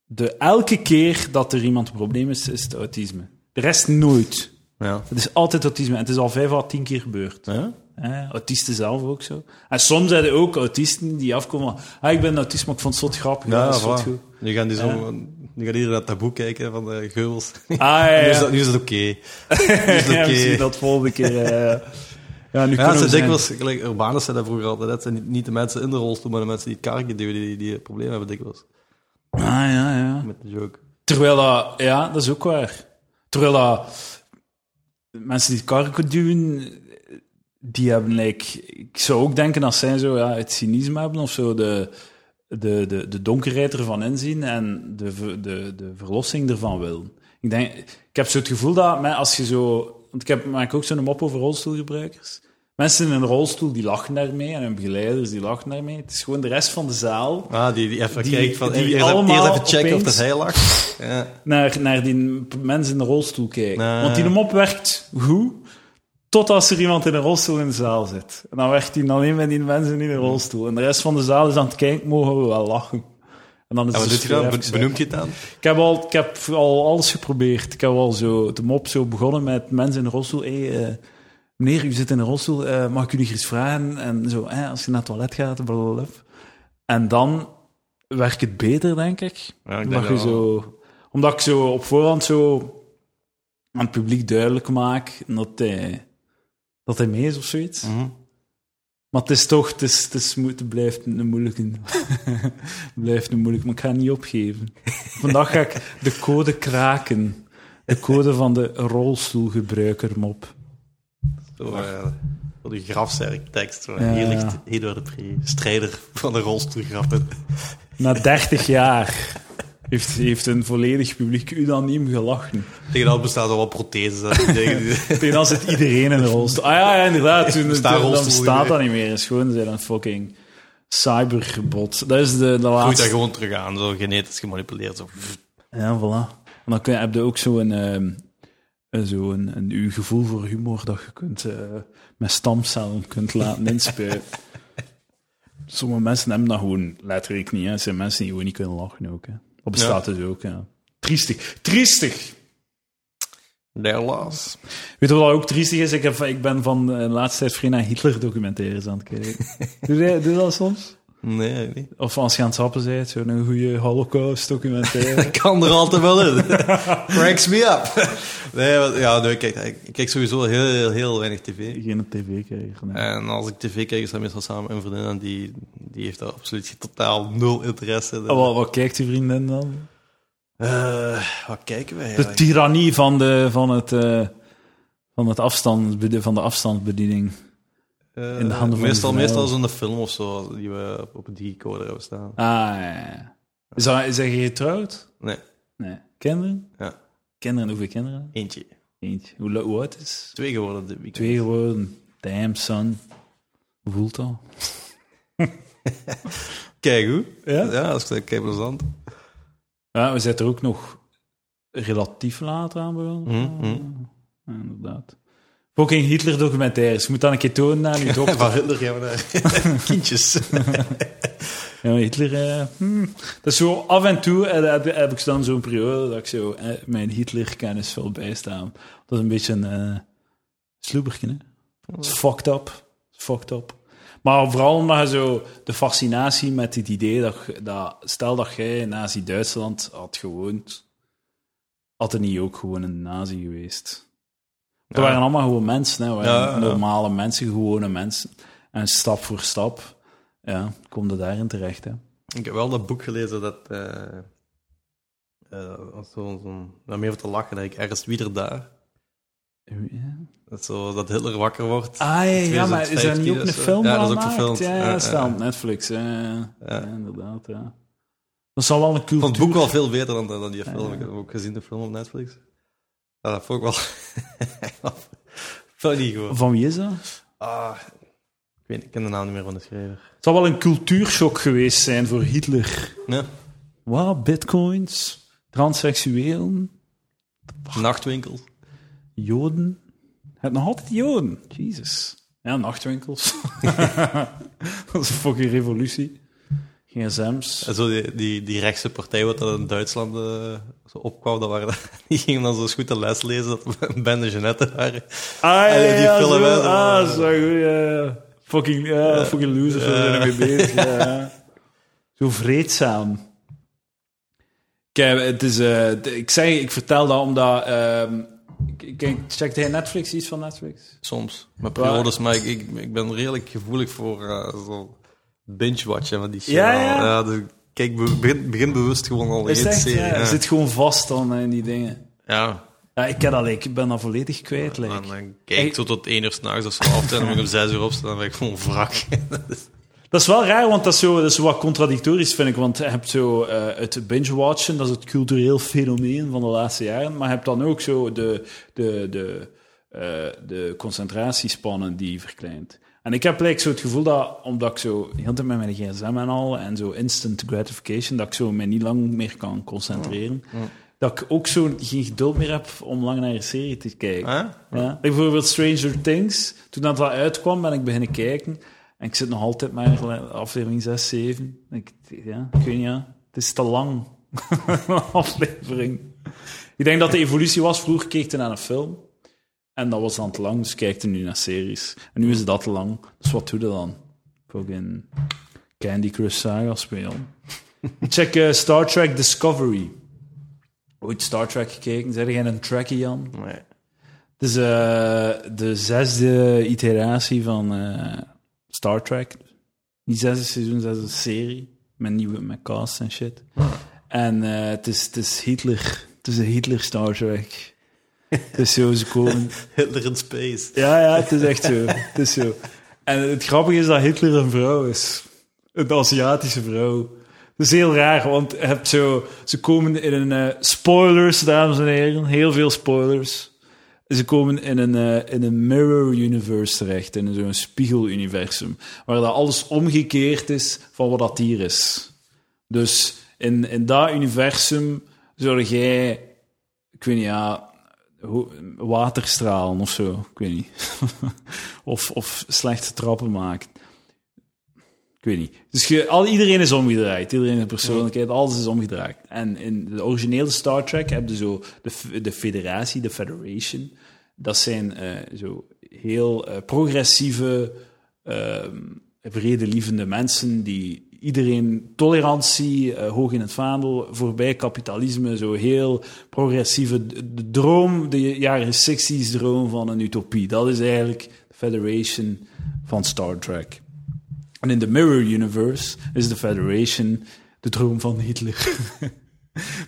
de, elke keer dat er iemand een probleem is, is het autisme. De rest nooit.
Ja.
Het is altijd autisme. En het is al vijf à tien keer gebeurd.
Ja?
Hè, autisten zelf ook zo. En soms zijn er ook autisten die afkomen van... Ah, ik ben autist, maar ik vond het zot grappig. Ja,
Ja,
dat is zot
voilà.
goed.
Nu gaan die zo, nu gaat iedereen naar het taboe kijken van de geubels.
Ah, ja,
Nu is
ja.
dat, nu is dat oké. Nu is dat
Ja,
oké.
misschien dat volgende keer... eh, ja, nu
Ja,
kunnen
ze
we zijn.
dikwijls, gelijk Urbanus zei dat vroeger altijd, dat zijn niet- niet de mensen in de rolstoel, maar de mensen die karken duwen, die, die problemen hebben dikwijls.
Ah, ja, ja.
Met de joke.
Terwijl dat, ja, dat is ook waar. Terwijl dat mensen die karken duwen, die hebben, like, ik zou ook denken dat zij zo ja, het cynisme hebben of zo, de, de, de, de donkerheid ervan inzien en de, ver- de, de verlossing ervan willen. Ik, denk, ik heb zo het gevoel dat men- als je zo, want ik heb, maak ook zo'n mop over rolstoelgebruikers. Mensen in een rolstoel die lachen daarmee en hun begeleiders die lachen daarmee. Het is gewoon de rest van de zaal
Ah, die, die even
Die-
kijken van,
die
eerst, even-
allemaal
eerst even checken of dat
opeens-
hij lacht. Ja.
naar, naar die p- mensen in de rolstoel kijken.
Nee.
Want die mop werkt goed, tot als er iemand in een rolstoel in de zaal zit. En dan werkt die alleen met die mensen in de rolstoel. En de rest van de zaal is aan het kijken, mogen we wel lachen. En dan is
En wat
het
doet hij
weer
dan? Be-
Dus even-
Benoemt hij het dan?
Ik heb, al, ik heb al alles geprobeerd. Ik heb al zo de mop zo begonnen met mensen in de rolstoel. Hey, eh, meneer, u zit in een rolstoel, eh, mag ik jullie iets vragen? En zo, eh, als je naar het toilet gaat, blablabla. En dan werkt het beter, denk ik.
Ja, ik
Omdat,
denk
je
dat wel.
zo, omdat ik zo op voorhand zo aan het publiek duidelijk maak dat hij, dat hij mee is of zoiets.
Mhm.
Maar het is toch, het, is, het, is, moe- het blijft een moeilijke. Het blijft een moeilijk, maar ik ga niet opgeven. Vandaag ga ik de code kraken. De code van de rolstoelgebruiker mop.
Zo, eh, Wat een grafzerk tekst. zo.
Ja,
Hier
ja.
ligt Eduard de Pre, strijder van de rolstoelgrappen.
Na 30 jaar heeft, heeft een volledig publiek unaniem gelachen.
Tegen dat bestaan er wel protheses. en die dingen die-
Tegen dan zit iedereen in een rolstoel. Ah ja, ja, inderdaad. Toen,
Bestaat
toen- dan
rolstoel
bestaat
weer.
dat niet meer. Het is gewoon zijn een fucking cybergebod. Dat is de, de
Goed, daar
laatste
gewoon terug aan, zo genetisch gemanipuleerd. Zo.
Ja, voilà. En dan kun, heb je ook zo'n ehm, eh, zo een, een, uw gevoel voor humor dat je kunt, eh, met stamcellen kunt laten inspuiten. Sommige mensen hebben dat gewoon letterlijk niet. Hè. Het zijn mensen die gewoon niet kunnen lachen ook. Hè. Dat bestaat dus ook, ja. Triestig. Triestig!
Helaas.
Weet je wat ook triestig is? Ik, heb, ik ben van de laatste tijd vrij naar Hitler-documentaires aan het kijken. doe, jij, doe je dat soms?
Nee, niet.
Of als je aan het sappen bent, zo'n goede Holocaust-documentaire.
kan er altijd wel in. Cracks me up. Nee, want- ja, nee, ik, kijk, ik kijk sowieso heel, heel, heel weinig tv.
Geen op tv krijgen. hè.
En als ik tv kijk, is dat meestal samen met een vriendin. En die, die heeft daar absoluut totaal nul interesse in.
Ah, Wat, wat kijkt uw vriendin dan?
Eh, wat kijken we
De
eigenlijk?
tirannie van de, van het, eh, van het afstand, van de afstandsbediening.
Eh,
in de handen van
meestal,
de vrouw.
meestal is het een film of zo die we op- op een digicoder hebben staan.
Ah, ja, ja. Is dat- Zijn je getrouwd?
Nee,
Nee. Kinderen?
Ja.
Kinderen, hoeveel kinderen?
eentje.
Eentje. Hoe, lo- hoe oud is?
Twee geworden dit weekend.
Twee geworden. Damn, son. Hoe voelt dat?
Kijk hoe?
Ja?
Ja, dat is kijk plezant.
Ja, we zijn er ook nog relatief laat aan begonnen.
Mhm, mhm.
Ja, inderdaad. Fucking Hitler-documentaires. Je moet dan een keer tonen aan je dochter.
Van Hitler gaan we naar kindjes.
Ja, maar Hitler... eh, hmm. Dat is zo, af en toe eh, heb, heb ik dan zo'n periode dat ik zo eh, mijn Hitler-kennis wil bijstaan. Dat is een beetje een eh sloeberken, hè? Dat is fucked up. Fucked up. Maar vooral omdat je zo de fascinatie met het idee dat, je- dat stel dat jij in Nazi-Duitsland had gewoond, had er niet ook gewoon een nazi geweest. Er waren allemaal gewoon mensen, hè. We waren
Ja, ja, ja.
normale mensen, gewone mensen. En stap voor stap ja, kom je daarin terecht. Hè.
Ik heb wel dat boek gelezen dat. eh eh, was zo, zo'n- om even te lachen, dat ik ergens wieder daar. Dat, zo, dat Hitler wakker wordt.
Ah ja, Ah, ja, maar is er
2015
niet ook een
of zo?
film
Ja,
van
dat is ook
gemaakt?
verfilmd.
Ja,
Ja,
ja,
ja,
staat op
ja.
Netflix. Ja, ja. Ja, inderdaad. Ja. Dat zal wel een
Ik
cultuur...
vond het boek wel veel beter dan, dan die film. Ik heb hem ook gezien de film op Netflix. Ja, dat vond ik wel. Funny gewoon.
Van wie is dat?
Ah, ik, weet, ik ken de naam niet meer van de schrijver.
Het zal wel een cultuurshock geweest zijn voor Hitler.
Ja.
Wow, bitcoins, transseksuelen,
Nachtwinkel.
joden. Het nog altijd joden. Jezus. Ja, nachtwinkels. dat is een fucking revolutie. GSM's.
En zo die, die, die rechtse partij wat dat in Duitsland eh, zo opkwam, dat waren, die gingen dan zo eens goed de les lezen dat Ben de Jeannette waren.
Ah,
ja, die
ja,
film,
zo.
hè, zo.
Ah, zo goed, ja, ja. Fucking, ja, fucking losers, we zijn ermee bezig. ja. Zo vreedzaam. Kijk, het is, eh, d- ik, zeg, ik vertel dat omdat... ehm, k- Kijk, checkt hij Netflix, iets van Netflix?
Soms. Met periodes, maar ik, ik, ik ben redelijk gevoelig voor eh, zo binge-watchen van die shit.
Ja, ja.
al. dus kijk, be- begin, begin bewust gewoon al
Is
één
het echt?
serie.
Ja,
Ja,
zit gewoon vast dan hè, in die dingen.
ja.
Ja, ik ken dat, like, ik ben dat volledig kwijt. like.
En dan kijk ik tot tot één uur s'nachts of zo af en dan moet ik om zes uur opstaan dan ben ik gewoon wrak.
Dat is wel raar, want dat is, zo, dat is wat contradictorisch, vind ik. Want je hebt zo eh, het binge-watchen, dat is het cultureel fenomeen van de laatste jaren. Maar je hebt dan ook zo de, de, de, eh, de concentratiespannen die verkleint. En ik heb like, zo het gevoel dat, omdat ik zo heel de tijd met mijn gsm en al, en zo instant gratification, dat ik zo me niet lang meer kan concentreren. Dat ik ook zo geen geduld meer heb om lang naar een serie te kijken.
Huh?
Ja. Ik bijvoorbeeld Stranger Things. Toen dat wel uitkwam, ben ik beginnen kijken. En ik zit nog altijd maar aflevering 6, 7. Ik, ja, ik weet niet, ja. Het is te lang. Een aflevering. Ik denk dat de evolutie was. Vroeger keek je naar een film. En dat was dan te lang, dus kijk je nu naar series. En nu is dat te lang. Dus wat doe je dan? Fucking Candy Crush Saga spelen. Check eh, Star Trek Discovery. Ooit Star Trek gekeken? Zijn jij een Trekkie, Jan?
Nee.
Het is eh, de zesde iteratie van eh, Star Trek. Niet zesde seizoen, zesde serie. Met nieuwe met cast en shit. En eh, het, is, het is Hitler. Het is een Hitler Star Trek. Het is zo, ze komen...
Hitler in space.
Ja, ja, het is echt zo. Het is zo. En het grappige is dat Hitler een vrouw is. Een Aziatische vrouw. Dat is heel raar, want je hebt zo, ze komen in een... eh, spoilers, dames en heren. Heel veel spoilers. Ze komen in een, eh, in een mirror universe terecht. In zo'n spiegeluniversum. Waar dat alles omgekeerd is van wat dat hier is. Dus in, in dat universum zou jij... Ik weet niet, ja... hoe- Waterstralen of zo, ik weet niet. of, of slechte trappen maken. Ik weet niet. Dus je, al, iedereen is omgedraaid. Iedereen is persoonlijkheid, alles is omgedraaid. En in de originele Star Trek heb je zo de, f- de federatie, de Federation. Dat zijn eh, zo heel eh, progressieve, ehm vredelievende mensen die iedereen tolerantie eh, hoog in het vaandel, voorbij kapitalisme, zo heel progressieve d- de droom, de jaren 60s droom van een utopie. Dat is eigenlijk de Federation van Star Trek. En in de Mirror Universe is de Federation de droom van Hitler.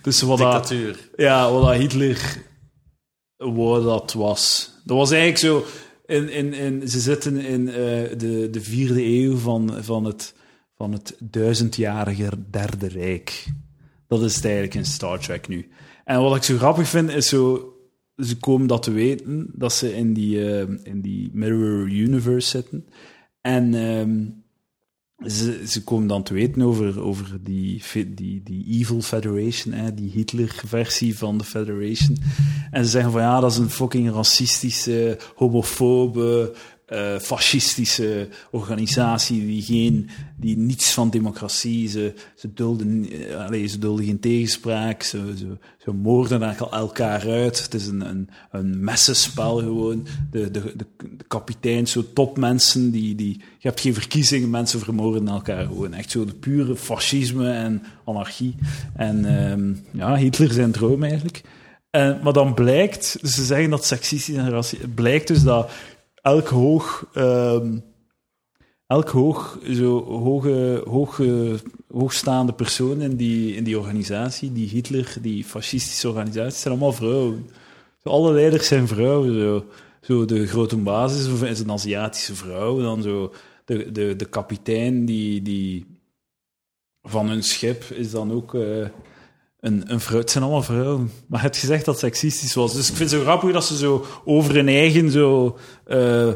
dus wat dat-
Dictatuur.
ja, wat dat Hitler wat dat was. Dat was eigenlijk zo. In, in, in, ze zitten in eh, de, de vierde eeuw van, van, het, van het duizendjarige Derde Rijk. Dat is het eigenlijk in Star Trek nu. En wat ik zo grappig vind, is zo... Ze komen dat te weten, dat ze in die, eh, in die Mirror Universe zitten. En ehm, ze, ze komen dan te weten over, over die, fe- die, die Evil Federation, hè, die Hitler-versie van de Federation. En ze zeggen van ja, dat is een fucking racistische, homofobe, eh, fascistische organisatie die, geen, die niets van democratie, ze, ze, dulden, eh, allee, ze dulden geen tegenspraak, ze, ze, ze moorden elka- elkaar uit. Het is een, een, een messenspel gewoon. De, de, de, de kapiteins, zo topmensen. Die, die, je hebt geen verkiezingen, mensen vermoorden elkaar gewoon. Echt zo de pure fascisme en anarchie. En ehm, ja, Hitler zijn droom eigenlijk. En, maar dan blijkt, dus ze zeggen dat seksistisch en racistisch... Het blijkt dus dat elk hoog... ehm, elk hoog, zo hoge, hoge, hoogstaande persoon in die, in die organisatie, die Hitler, die fascistische organisatie, zijn allemaal vrouwen. Zo, alle leiders zijn vrouwen. Zo. Zo de grote basis is een Aziatische vrouw. Dan zo de, de, de kapitein die, die van hun schip is dan ook eh, een, een vrouw. Het zijn allemaal vrouwen. Maar je hebt gezegd dat het seksistisch was. Dus ik vind het zo grappig dat ze zo over hun eigen zo... eh, eh,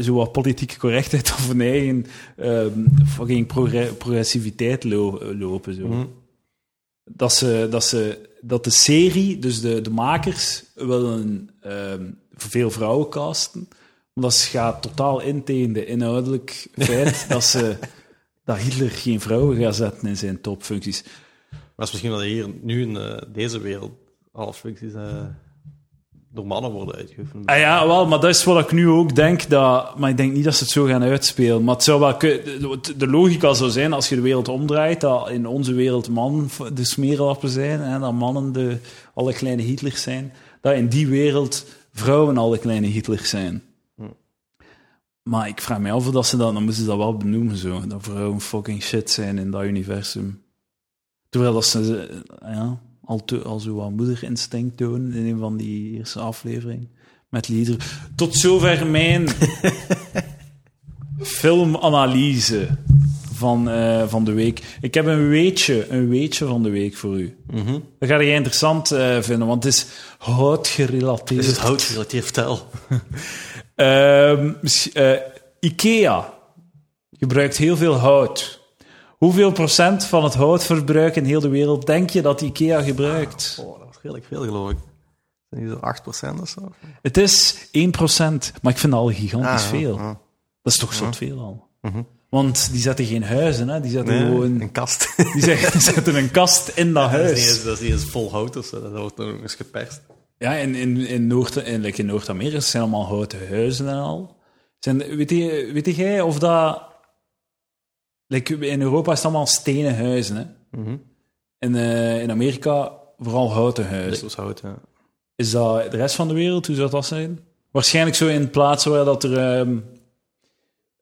zo wat politieke correctheid of hun eigen ehm, fucking progre- progressiviteit lo- lopen. Zo. Dat, ze, dat, ze, dat de serie, dus de, de makers, willen ehm, veel vrouwen casten. Maar dat gaat totaal in tegen de inhoudelijk feit dat, ze, dat Hitler geen vrouwen gaat zetten in zijn topfuncties.
Maar het is misschien dat hier nu in eh, deze wereld alle functies eh, door mannen worden uitgeoefend.
Ah ja, wel, maar dat is wat ik nu ook denk. Dat, maar ik denk niet dat ze het zo gaan uitspelen. Maar het zou wel kun- de, de logica zou zijn, als je de wereld omdraait, dat in onze wereld mannen v- de smerelappen zijn, en dat mannen de, alle kleine Hitlers zijn, dat in die wereld vrouwen alle kleine Hitlers zijn. Maar ik vraag me af of dat ze dat, dan moeten ze dat wel benoemen zo. Dat vrouwen fucking shit zijn in dat universum. Terwijl dat ze eh, ja, al, te, al zo wat moederinstinct tonen in een van die eerste afleveringen met liederen. Tot zover mijn filmanalyse van, eh, van de week. Ik heb een weetje, een weetje van de week voor u.
Mhm.
Dat ga je interessant eh, vinden, want het is houtgerelateerd.
Is het hout gerelateerd vertel?
Ehm, miss- eh, IKEA gebruikt heel veel hout. Hoeveel procent van het houtverbruik in heel de wereld denk je dat IKEA gebruikt?
Oh, dat was redelijk veel, geloof ik. Zijn die zo'n 8% of zo?
Het is 1%, maar ik vind dat al gigantisch
Ah, ja,
veel.
ja.
Dat is toch zot veel al. Want die zetten geen huizen, hè? die zetten
Nee,
gewoon
een kast.
die zetten, die zetten een kast in dat
Dat is, niet
huis.
eens, dat is niet eens vol hout of zo, dat wordt nog eens geperst.
Ja, in, in, in, Noord, in, like in Noord-Amerika zijn allemaal houten huizen en al. Zijn, weet, je, weet jij of dat. like, in Europa is het allemaal stenen huizen. Hè? En eh, in Amerika vooral houten huizen.
Dat is hout, ja.
Is dat de rest van de wereld? Hoe zou dat zijn? Waarschijnlijk zo in plaatsen waar dat er ehm,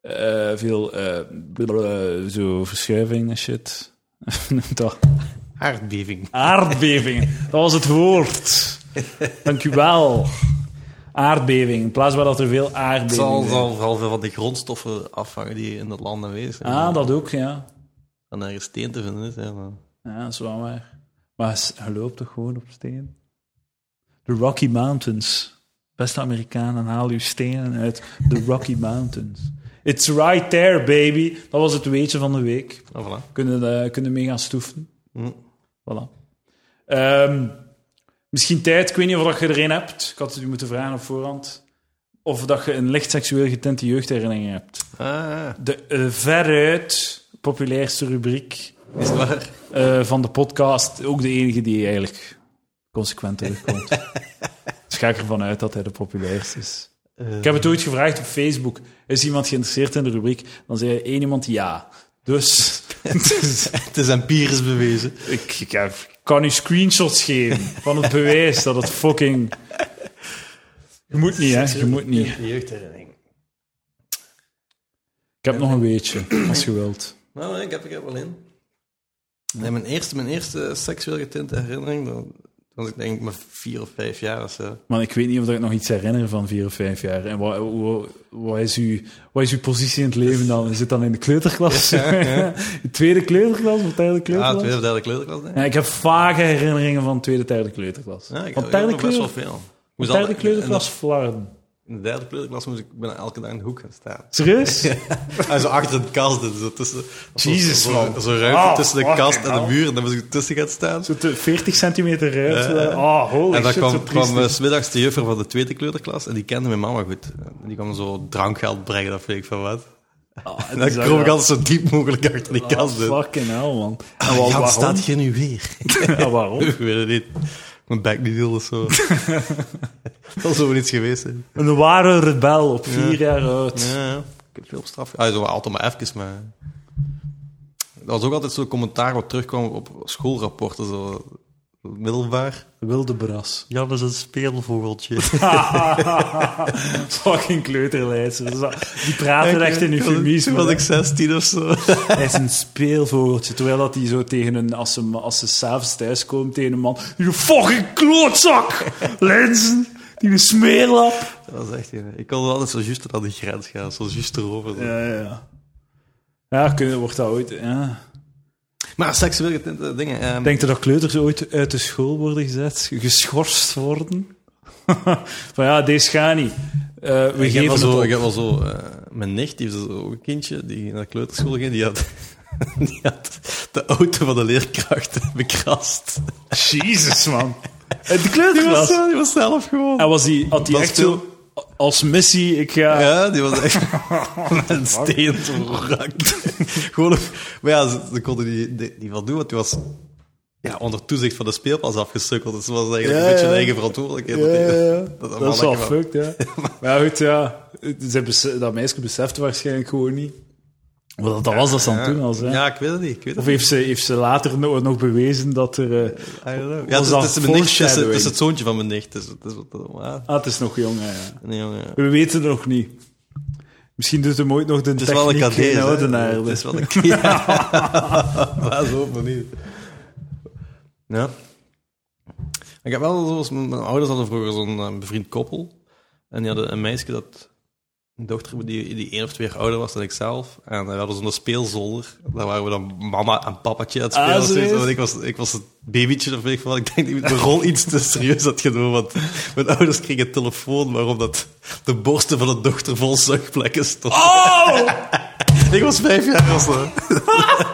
eh, veel eh, blablabla, zo verschuiving en shit. Noem dat.
Aardbeving.
Aardbevingen. Dat was het woord. Dank u wel. Aardbeving. In plaats waar dat er veel
Het zal,
aardbevingen zijn.
zal vooral veel van de grondstoffen afhangen die in dat land aanwezig zijn.
Ah, dat ook, ja.
En ergens steen te vinden is, ja. Maar...
Ja, dat is wel waar. Maar s- je loopt toch gewoon op steen? De Rocky Mountains. Beste Amerikanen, haal uw stenen uit de Rocky Mountains. It's right there, baby. Dat was het weetje van de week.
Ah, voilà.
Kunnen, eh, kunnen mee gaan stoeven.
Hm.
Voilà. Ehm, misschien tijd, ik weet niet of dat je er een hebt. Ik had het u moeten vragen op voorhand. Of dat je een licht seksueel getinte jeugdherinnering hebt.
Ah,
De eh, veruit populairste rubriek
is het waar?
eh, van de podcast. Ook de enige die eigenlijk consequent terugkomt. dus ga ik ervan uit dat hij de populairste is. Ik heb het ooit gevraagd op Facebook. Is iemand geïnteresseerd in de rubriek? Dan zei één iemand ja. Dus...
Het is empirisch bewezen.
Ik, ik heb- ik kan u screenshots geven van het bewijs dat het fucking. Je moet niet, hè? Je moet niet.
Jeugdherinnering.
Ik heb nog een weetje, als je wilt.
Nou, nee, ik heb ik heb wel in. Nee, mijn, eerste, mijn eerste seksueel getinte herinnering, dat was ik denk ik maar vier of vijf jaar of zo. Ah,
Maar ik weet niet of ik nog iets herinner van vier of vijf jaar. En wat, wat, wat, is, uw, wat is uw positie in het leven dan? Is het dan in de kleuterklas? De tweede kleuterklas of derde
Ja,
kleuterklas?
tweede of derde kleuterklas, denk ik.
Ja, ik heb vage herinneringen van tweede, derde kleuterklas.
Ja, ik
Want
heb
derde,
nog best wel
kleur,
veel. Ik
want
moest
derde
altijd-
kleuterklas flarden.
In de derde kleuterklas moest ik bijna elke dag in de hoek gaan staan.
Serieus?
En zo achter de kast, dus zo tussen...
Jezus,
zo,
man.
Zo ruimte
Ah,
tussen de
fucking
kast en de
hell.
muur, en dan moest ik tussen gaan staan.
Zo te- 40 centimeter ruimte.
Ja, ja.
Ah, holy
en dan
shit, zo
kwam, kwam
triest.
eh, 's middags de juffer van de tweede kleuterklas, en die kende mijn mama goed. En die kwam zo drankgeld brengen, dat vind ik van wat. En dan kroop ik altijd zo diep mogelijk achter die kast. in.
Fucking hell, man. En
Ah, Jan
waarom?
staat hier nu weer.
Ja, waarom?
ik weet het niet. Mijn back niet deal of zo. dat zou wel iets geweest zijn.
Een ware rebel op vier jaar oud.
Ja, ja. ik heb veel op straf. Ah, zo altijd maar even, maar... Dat was ook altijd zo'n commentaar wat terugkwam op schoolrapporten, zo middelbaar.
Wilde bras.
Jan is een speelvogeltje.
Fucking kleuterlijst. Die praten echt in eufemisme.
Toen was ik 16 of zo.
Hij is een speelvogeltje. Terwijl dat hij zo tegen een, als ze, als ze s'avonds thuis komen, tegen een man. Je fucking klootzak! Lenzen! Die smeerlap!
Dat was echt... ja. Ik kon altijd zo juist naar de grens gaan, zo juist erover. zo.
Ja, ja, ja. Ja, kunnen, wordt dat ooit. Ja.
Maar seksueel getinte dingen... ehm,
Denkt u dat kleuters ooit uit de school worden gezet? Geschorst worden? van ja, deze gaat niet. Eh, we
Ik heb wel
geven
zo,
het
ik
op.
heb wel zo eh, mijn nicht, die heeft zo ook een kindje die naar de kleuterschool ging, die had, die had de auto van de leerkracht bekrast.
Jezus, man. De
Die was,
kleuterklas.
zelf- die was zelf gewoon.
En was die, had die
Was
echt zo... Als missie, ik ga...
Ja, die was echt met een steen verrakt. Gewoon, op- maar ja, ze, ze konden die, die, die wat doen, want die was ja, onder toezicht van de speelpas afgesukkeld. Dus ze was eigenlijk
Ja,
een beetje
ja.
een eigen verantwoordelijkheid.
Ja, ja, ja.
Dat, dat,
Dat is wel
mannetje van-
fucked, ja. Maar ja, goed, ja. Ze bes- dat meisje besefte waarschijnlijk gewoon niet. Wat dat was dat ze aan
ja.
toen al, hè.
Ja, ik weet het niet. Ik weet het
Of heeft ze, heeft ze later nog, nog bewezen dat er... eh,
I don't
was
know. Ja, het, is-
dat
het is mijn nicht, het, is, het is
foreshadowing?
het zoontje van mijn nicht. dus Het is, het is wat, ja,
ah, het is nog jong, hè, ja.
een jongen.
We weten het nog niet. Misschien doet hem ooit nog de
Het is wel een
techniek
cadeau.
in
hè.
Oudenaarde.
Het is wel een Ja, maar zo op manier. Ja. Ik heb wel, zoals mijn, mijn ouders hadden vroeger zo'n eh, bevriend koppel. En die hadden een meisje dat, een dochter die, die één of twee jaar ouder was dan ik zelf. En we hadden zo'n speelzolder. Daar waren we dan mama en papatje aan het spelen.
Ah,
of zoiets.
serieus?
Want ik was, ik was het babytje of weet ik veel wat. Ik denk dat ik de rol iets te serieus had genomen. Want mijn ouders kregen een telefoon waarom dat de borsten van de dochter vol zuchtplekken stonden.
Oh!
Ik was vijf jaar of zo.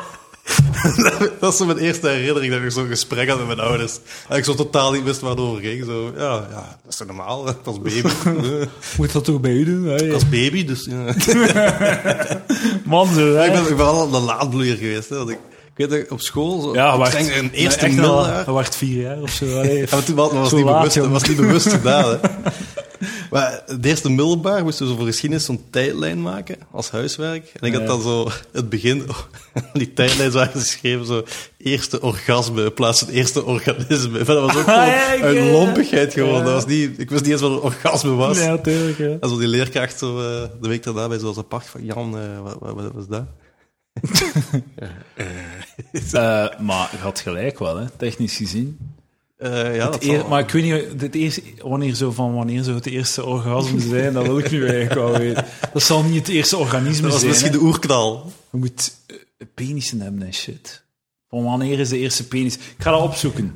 dat is zo mijn eerste herinnering dat ik zo'n gesprek had met mijn ouders. En ik zo totaal niet wist waar het over ging. Zo, ja, ja, dat is toch normaal. Ik was baby.
Moet dat toch bij u doen? hè?
ik was baby, dus... ja.
Man, zo, hè.
ik, ben, ik ben wel een laadbloeier geweest. Hè, want ik, ik weet dat ik op school... Zo,
Ja,
ik
wacht.
denk een eerste
echt wel-
middeljaar...
Hij wacht vier jaar of zo. allee.
Ja, maar toen was het
Zo
niet
laat,
bewust,
jongen.
was niet bewust gedaan. Hè. Maar de eerste middelbaar moesten we zo voor geschiedenis zo'n tijdlijn maken als huiswerk. En ik had
Ja.
dan zo het begin, oh, die tijdlijn zo geschreven, zo eerste orgasme in plaats van eerste organisme. Maar dat was ook gewoon
Ah, ja, ik,
uit
eh,
lompigheid gewoon.
ja.
Dat was niet, ik wist niet eens wat een orgasme was.
Ja, natuurlijk, hè.
En zo die leerkracht zo, eh, de week daarna bij zoals apart van Jan, eh, wat, wat, wat was dat?
Eh, maar je had gelijk wel, hè, technisch gezien.
Eh, ja, dat
Eer-
zal-
maar ik weet niet, het eerste, wanneer, zo, van wanneer zo het eerste orgasme zijn, dat wil ik nu eigenlijk wel weten. Dat zal niet het eerste organisme
dat was
zijn.
misschien
hè.
de oerknal.
Je moet eh, penissen hebben en shit. Van wanneer is de eerste penis? Ik ga dat opzoeken.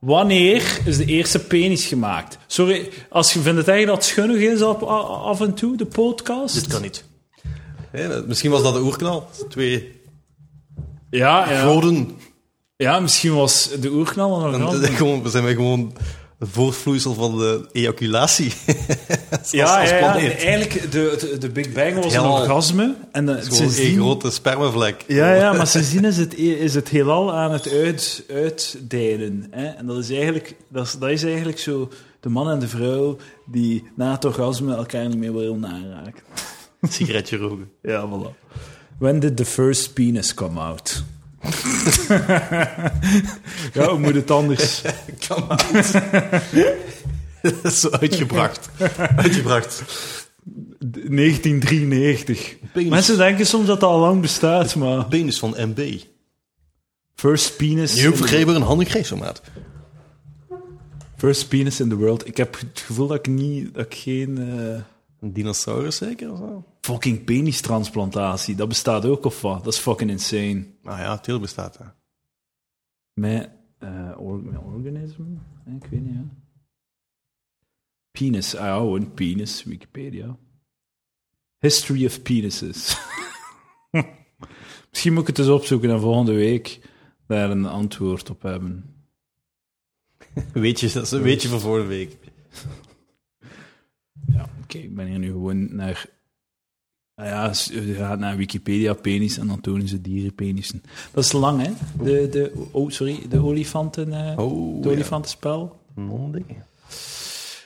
Wanneer is de eerste penis gemaakt? Sorry, als je vindt het eigenlijk dat het schunnig is op, a- af en toe, de podcast?
Dit kan niet. misschien was dat de oerknal. Twee
Ja, ja.
Goden.
ja, misschien was de oerknal een
En
orgasme.
dat is gewoon- we zijn wij gewoon het voortvloeisel van de ejaculatie. Als-
Ja,
als
ja, ja.
planeet.
eigenlijk de, de, de Big Bang was een
Heelal.
orgasme. En eh, de,
Gewoon een
sindsdien-
grote spermavlek.
Ja, ja, maar sindsdien is het, is het heelal aan het uit, uitdijden. Hè? En dat is, eigenlijk, dat, is, dat is eigenlijk zo de man en de vrouw die na het orgasme elkaar niet meer willen aanraken.
Een sigaretje roken.
Ja, voilà. When did the first penis come out? ja, hoe moet het anders?
Kom uit. Dat is zo uitgebracht. Uitgebracht.
1993.
Penis.
Mensen denken soms dat dat al lang bestaat, maar...
Penis van MB.
First penis... in
Nieuw
the-
vergrepen een handig geestomaat.
First penis in the world. Ik heb het gevoel dat ik, niet, dat ik geen... eh,
Een dinosaurus zeker? Of zo?
Fucking penistransplantatie, dat bestaat ook of wat? Dat is fucking insane.
Nou ja, het heel bestaat daar.
Met, eh or- met organisme? Eh, Ik weet niet, ja. Penis, ah ja, gewoon penis, Wikipedia. History of penises. Misschien moet ik het eens opzoeken en volgende week daar een antwoord op hebben.
Weet je, dat is een weetje van vorige week.
Ja, oké, ik ben hier nu gewoon naar... Ah ja, s- je gaat naar Wikipedia penis en dan tonen ze dierenpenissen. Dat is lang, hè? De, de, oh, sorry, de olifanten... eh,
Oh,
Het olifantenspel.
Monday.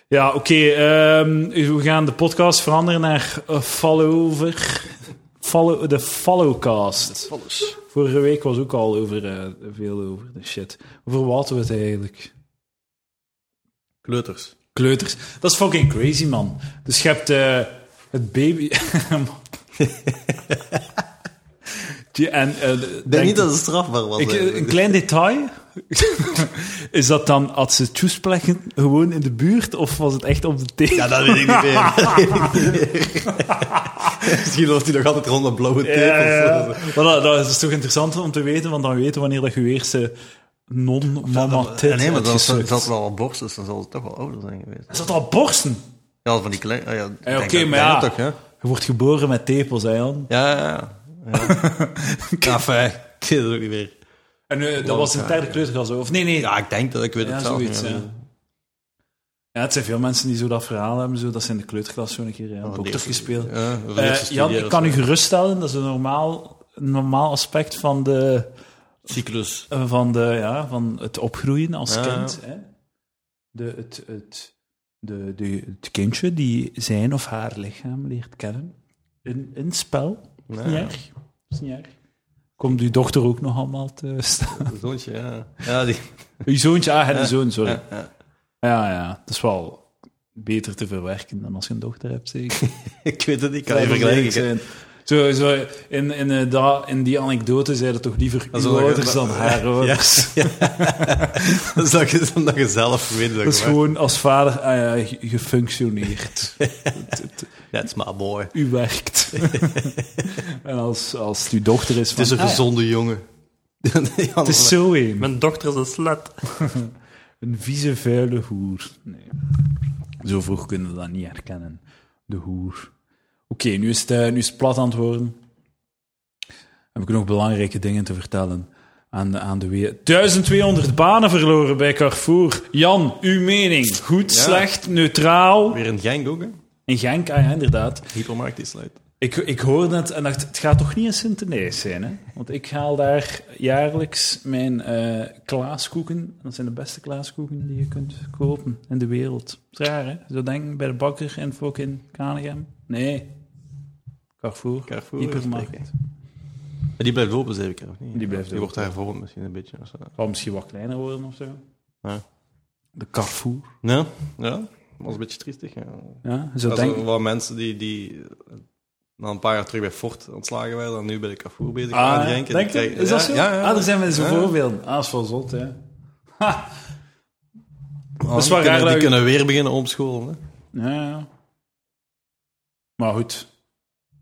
Ja, oké. ehm, we gaan de podcast veranderen naar eh, Fallover. Follow, de Followcast.
Alles.
Vorige week was ook al over, eh, veel over de shit. Over wat we het eigenlijk?
Kleuters.
Kleuters. Dat is fucking crazy, man. Dus je hebt eh, het baby... Die- en, eh,
Ik denk
denk-
niet dat het strafbaar was.
Ik,
eigenlijk.
een klein detail. Is dat dan, had ze tjoesplekken gewoon in de buurt, of was het echt op de thee?
Ja, dat weet ik niet meer. Dat weet ik niet meer. Misschien loopt hij nog altijd rond met blauwe tape of zo.
Maar dat, dat is toch interessant om te weten, want dan weten wanneer dat je weer ze non-mama tit
nee, maar dan
hebt
zat
gesukt.
zat er al op borst, dus dan zal het toch wel ouder zijn geweest.
Is dat al borsten?
Ja, van die klein... Ja, ja, ik
Eh,
denk
Oké,
dat-
maar
denk
ja,
dat toch, hè?
je wordt geboren met tepels, hè, Jan?
Ja, ja, ja. Ja, fijn. Ik weet het ook niet meer.
En eh, dat was een derde kleutergas, of? Nee, nee,
Ja, ik denk dat ik weet het
ja,
zelf.
zoiets,
niet meer. Oh,
ja. Ja, het zijn veel mensen die zo dat verhaal hebben, zo, dat ze in de kleuterklas zo een keer ja,
Van de
dokter
eerste-
gespeeld.
Oh, Ja, van de
Eh,
eerste
Jan, ik
studeren
kan u
of zo.
geruststellen, dat is een normaal, een normaal aspect van, de,
Cyclus.
eh, van, de, ja, van het opgroeien als
Ja,
kind. Hè? De, het, het, de, de, het kindje die zijn of haar lichaam leert kennen. In, in het spel. Dat is niet
Ja,
erg. Dat is niet erg. Komt uw dochter ook nog allemaal te staan?
zoontje, ja. Ja, die...
Uw zoontje, ah, en zoon, sorry.
Ja, ja.
Ja, ja, het is wel beter te verwerken dan als je een dochter hebt, zeker.
Ik weet het niet, ik kan
Dat
niet
zou lelijk
vergelijken.
zijn. Zo, zo, in, in, eh, da- in die anekdote zeiden toch liever
Dat is
uw
wel-
ouders dan haar ouders.
Dat is dat je- dat je zelf weet.
Dat is gewoon als vader ah ja, ge- gefunctioneerd.
That's my boy.
U werkt. en als, als het uw dochter is van...
Het is een
ah ja,
gezonde jongen.
het is zo een.
Mijn dochter is een slet.
Een vieze, vuile hoer. Nee. Zo vroeg kunnen we dat niet herkennen. De hoer. Oké, nu is het, eh, nu is het plat antwoorden. Heb ik nog belangrijke dingen te vertellen aan de, aan de weer. 1200 banen verloren bij Carrefour. Jan, uw mening. Goed,
Ja.
slecht, neutraal.
Weer een Genk ook, hè?
In Genk, ah ja, inderdaad.
Hypermarkt die sluit.
Ik, ik hoorde het en dacht, het gaat toch niet in Sint-Denis zijn, hè? Want ik haal daar jaarlijks mijn eh, klaaskoeken. Dat zijn de beste klaaskoeken die je kunt kopen in de wereld. Het is raar, hè? Zo denk ik bij de bakker in fucking Kanegem. Nee. Carrefour.
Carrefour,
Hypermarkt.
zeker. Maar die blijft open, zeker, of niet?
Die blijft
Die
open.
wordt daar vormd misschien een beetje. of zo.
Kan misschien wat kleiner worden of zo.
Ja.
De Carrefour.
Ja, ja. was een beetje triestig. Ja.
Ja, zo
Dat zijn
denk ik.
wel mensen die, die eh, na een paar jaar terug bij Fort ontslagen werden en nu bij de Carrefour bezig waren.
Ah,
die Genk. En
denk
die
je?
krijgen-
Is dat
ja,
zo?
Ja, ja.
Ah, er zijn mensen
Ja.
voorbeelden. Ah, dat is wel zot, hè? Ha!
Ah,
is
die
wel
kunnen,
raar
die
dat je-
kunnen weer beginnen omscholen. Hè?
Ja, ja. Maar goed.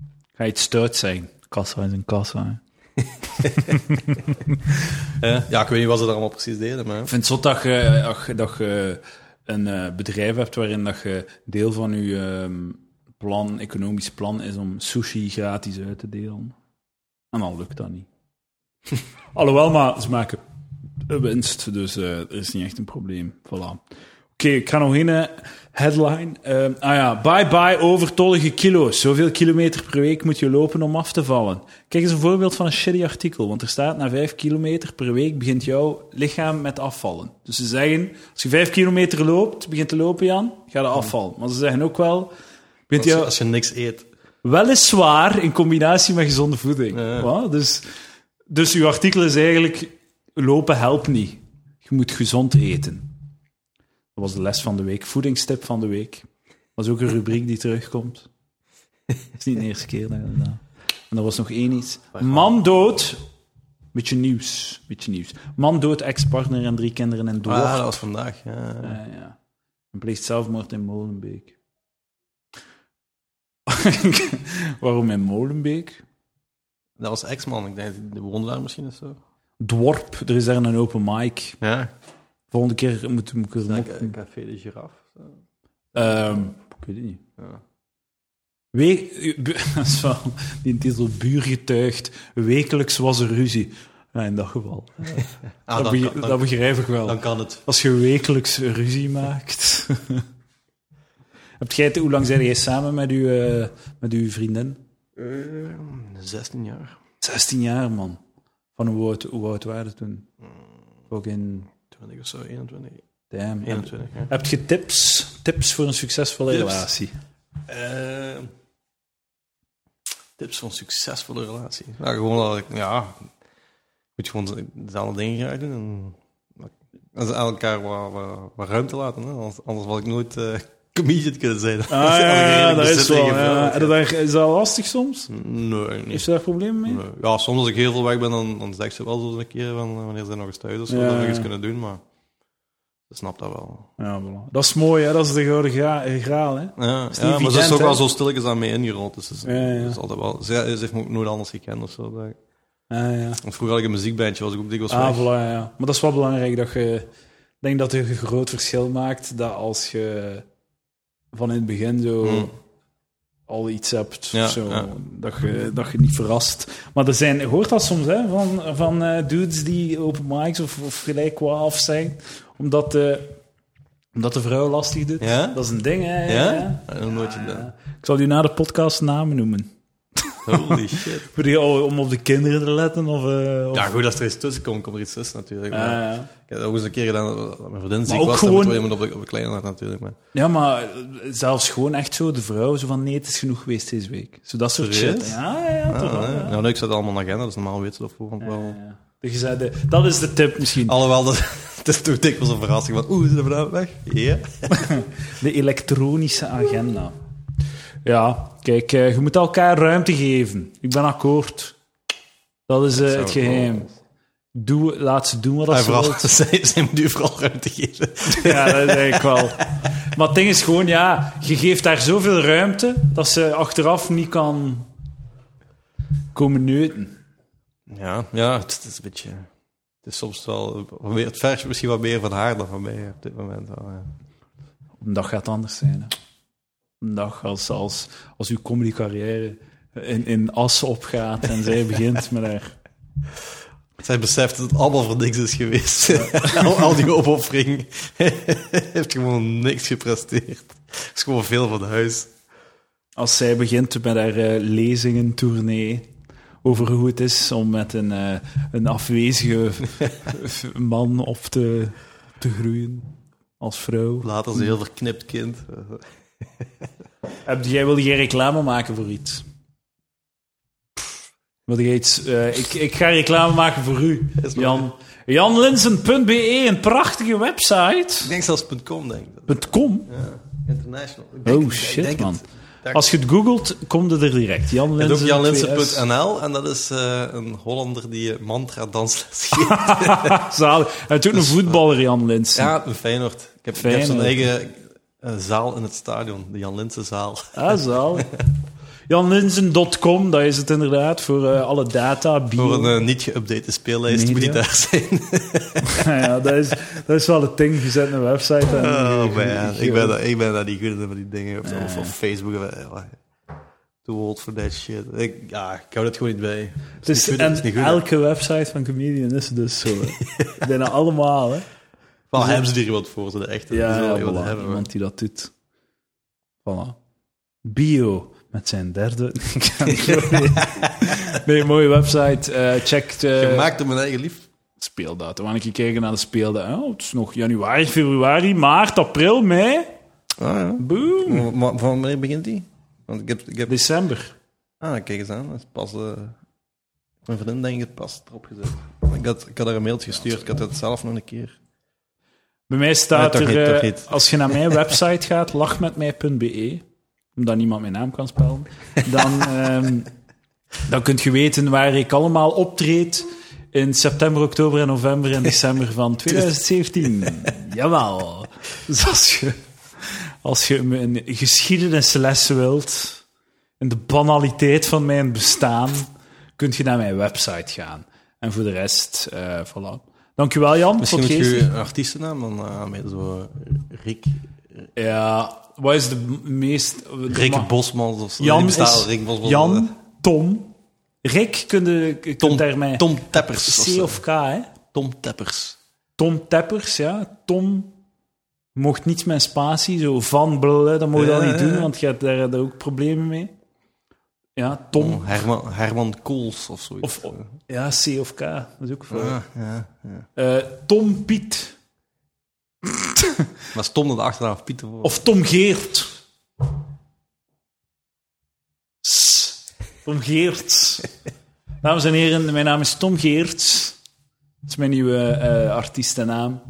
Ik Ga iets stout zijn. Kassa is een kassa. hè.
Ja. ja, ik weet niet wat ze daar allemaal precies deden, maar...
Ik vind het zot dat je, dat je, dat je een eh, bedrijf hebt waarin dat je deel van je ehm, plan, economisch plan is om sushi gratis uit te delen. En dan Ah, lukt dat niet. Alhoewel, maar ze maken een winst, dus eh, er is niet echt een probleem. Voilà. Oké, ik ga nog één eh, headline. Ehm, ah ja, bye bye overtollige kilo's. Zoveel kilometer per week moet je lopen om af te vallen. Kijk eens een voorbeeld van een shitty artikel, want er staat na vijf kilometer per week begint jouw lichaam met afvallen. Dus ze zeggen, als je vijf kilometer loopt, begint te lopen Jan, ga je afvallen. Maar ze zeggen ook wel, begint
Als, je-
jouw...
als je niks
Ah,
eet.
Weliswaar in combinatie met gezonde voeding.
Ja.
Wat? Dus, dus uw artikel is eigenlijk: lopen helpt niet. Je moet gezond eten. Dat was de les van de week, voedingstip van de week. Dat is ook een rubriek die terugkomt. Dat is niet de eerste keer dat ik dat gedaan. En er was nog één iets. Man dood. Beetje nieuws. Beetje nieuws. Man dood, ex-partner en drie kinderen en dood.
Ah, dat was vandaag. Ja.
Ja, Ah, ja. En pleegt zelfmoord in Molenbeek. Waarom in Molenbeek?
Dat was ex-man, ik denk de wondelaar misschien of zo.
Dworp, er is daar een open mic.
Ja.
Volgende keer moet, moet eh, ik er nog...
Café de Giraffe.
Ehm, ik weet het niet.
Ja.
We, dat is wel die titel buur getuigd. Wekelijks was er ruzie. Ja, in dat geval.
Ah,
dat,
dan,
bege-
kan-
dat
dan,
begrijp ik wel.
dan kan het.
Als je wekelijks ruzie maakt. Heb jij, het- hoe lang zijn jij samen met uw, eh, met uw vriendin? Eh,
16 jaar.
16 jaar, man. Van hoe oud, hoe oud waren we toen? Ook in...
20 of zo, 21.
Damn. Heb,
21, ja.
heb je tips, tips Ah, voor een succesvolle
Tips?
relatie?
Eh, tips van succesvolle relatie. Nou, gewoon dat ik, ja, moet je gewoon dezelfde dingen graag doen. En, en ze elkaar wat, wat, wat ruimte laten. Hè? Anders, anders had ik nooit eh comedian kunnen zijn.
Ah, ja,
Als je
ja,
algemeen
dat
bezit
is
en
wel.
gevraagd
ja.
hebt.
En dat- daar- Is dat lastig soms?
dus, Nee, niet.
Heeft ze daar problemen mee?
Nee. Ja, soms als ik heel veel weg ben, dan, dan zegt ze wel zo eens een keer van eh, wanneer ze nog eens thuis of zo,
Ja,
dat we
ja.
iets kunnen doen, maar ze snapt dat wel.
Ja, voilà. Dat is mooi, hè? dat is de gouden gra- graal. Hè?
Ja, ja
Is niet
maar ze is
evident,
ook
hè?
wel zo stilletjes aan mij ingerold, dus ze is,
Ja, ja.
ze is altijd wel... Ze, ze heeft me ook nooit anders gekend of zo. denk ik.
Ah, ja.
Want vroeger had ik een muziekbandje, was ik ook dikwijls
Ah,
weg.
voilà, ja, ja. Maar dat is wel belangrijk dat je. Ik denk dat het een groot verschil maakt dat als je van in het begin zo
Hmm.
al iets hebt,
Ja,
zo,
ja.
Dat, je, dat je niet verrast. Maar er zijn, je hoort dat soms hè, van, van eh, dudes die open mics of, of gelijk kwaaf zijn, omdat de, omdat de vrouw lastig doet.
Ja?
Dat is een ding, hè?
Ja?
ja.
Ja, nog nooit
Ah,
gedaan.
ja. Ik zal u na de podcast namen noemen.
Holy shit.
Voor die- Om op de kinderen te letten of... eh, of
Ja, goed, als er iets tussen komt, komt er iets tussen natuurlijk.
Ah,
maar
ja.
Ik heb dat ook eens een keer gedaan dat mijn vriendin ziek
ook
was,
gewoon-
dan moet je op de, op de kleine laten natuurlijk. Maar.
Ja, maar zelfs gewoon echt zo, de vrouw, zo van nee, het is genoeg geweest deze week. Zo dat soort
Serieus?
shit. Ja, ja,
Ah,
toch wel,
nee.
ja.
Nou, nee, ik zet allemaal in de agenda, dus normaal weet ze dat voorhand
Ja,
wel.
ja. Dus je zei de- dat is de tip misschien.
Alhoewel, dat, het is toch dikwijls een verrassing van, oeh, zijn we nou weg? Ja.
De elektronische agenda. Ja, kijk, eh, je moet elkaar ruimte geven. Ik ben akkoord. Dat is eh,
zou
het
ik wel-
geheim. Doe, laat ze doen wat dat
En
ze
vooral,
wil.
zij, zij moet u vooral ruimte geven.
Ja, dat is eigenlijk wel. Maar het ding is gewoon, ja, je geeft haar zoveel ruimte dat ze achteraf niet kan komen neuten.
Ja, ja het, is een beetje... Het is soms wel... Weer, het vers misschien wat meer van haar dan van mij op dit moment. Wel, ja.
Een dag gaat anders zijn. Hè. Een dag als, als, als uw comedycarrière in, in as opgaat en zij begint met haar...
Zij beseft dat het allemaal voor niks is geweest. al, al die opoffering heeft gewoon niks gepresteerd. Het is gewoon veel van huis.
Als zij begint met haar eh, lezingen, tournee, over hoe het is om met een, eh, een afwezige man op te, op te groeien als vrouw.
Later is een heel verknipt kind.
Heb, jij wilde jij reclame maken voor iets? Wilde jij iets... eh, ik, ik ga reclame maken voor u,
Is maar-
Jan. Janlinsen.be, E, een prachtige website.
Ik denk zelfs .com, denk ik.
.com.
Ja, international. Ik denk
Oh
het, ik
shit,
denk
man.
Het.
Als je het googelt, komt het er direct. Jan
Je hebt ook
Linsen.
janlinsen.nl en dat is eh, een Hollander die eh, mantra dansles geeft.
Ah, Zalig. Hij doet een voetballer, Jan Linsen.
eh, Ja, een Feyenoord. Ik heb, ik heb zo'n
Feyenoord.
eigen eh, zaal in het stadion, de Jan Linsenzaal.
Ah, zalig. Janlinsen.com, dat is het inderdaad, voor eh, alle data, bio.
Voor een eh, niet geüpdate speellijst
Media.
moet die daar zijn.
ja, dat, is, dat is wel het ding. Je zet een website en...
Oh man, ik ben, daar- ik ben daar niet goed in van die dingen. Of, of
Ah.
op Facebook. of, eh, Too old for that shit. Ik, ja, ik hou dat gewoon niet bij.
Het is,
niet goed,
en
het is niet goed, hè.
elke website van Comedian is het dus zo. hè. Bijna allemaal, hè?
Wel hebben ze er iemand voor, ze de echte. die
Ja,
zullen
ja,
er iemand
voilà,
hebben,
iemand die dat doet. Voilà. Bio, met zijn derde. Ik kan het niet meer. nee, mooie website. eh check
maar-
de
Gemaakt door mijn eigen lief.
speeldatum. Wanneer ik kijken naar de speeldatum. Oh, het is nog januari, februari, maart, april, mei.
Ah, ja.
Boom.
Maar- Maar van wanneer begint die? Want ik heb, ik heb...
December.
Ah, kijk eens aan. Dat is pas... eh, Mijn vriendin denk ik het pas erop gezet. Ik had, ik had haar een mailtje gestuurd. Ik had het zelf nog een keer.
Bij mij staat
Nee, toch
er,
niet, toch
eh,
niet.
als je naar mijn website gaat, lachmetmij.be, omdat niemand mijn naam kan spellen, dan, ehm, dan kunt je weten waar ik allemaal optreed in september, oktober en november en december van 2017. Jawel. Dus als je, als je me een geschiedenisles wilt, in de banaliteit van mijn bestaan, kunt je naar mijn website gaan. En voor de rest, eh voilà. Dankjewel Jan.
Misschien
voor
moet
het
je
geven.
een artiestennaam dan aanmelden. Zo eh, Rick,
Ja, wat is de m- meest... de ma-
Rick Bosmans of zo. Die
Jan
bestaat,
is...
Rick Bosmans.
Jan, Tom. Rick kun je kun je
eh, Tom,
daar mij...
Tom eh, Teppers. of
C
zo.
of K, hè?
Tom Teppers.
Tom Teppers, ja. Tom mocht niets met spatie, zo van blullen, dat mogen we
Ja,
dat niet
ja,
doen,
ja.
want je hebt daar, daar ook problemen mee. Ja, Tom.
Oh, Herman, Herman Kools of zoiets. Eh, ah,
Of, ja, C of K, dat is ook een vraag.
ja, ja, ja.
Eh, Tom Piet.
Maar stom dat de achternaam Pieter voor.
Of Tom Geert. S. Tom Geert. Dames en heren, mijn naam is Tom Geert. Dat is mijn nieuwe eh artiestennaam.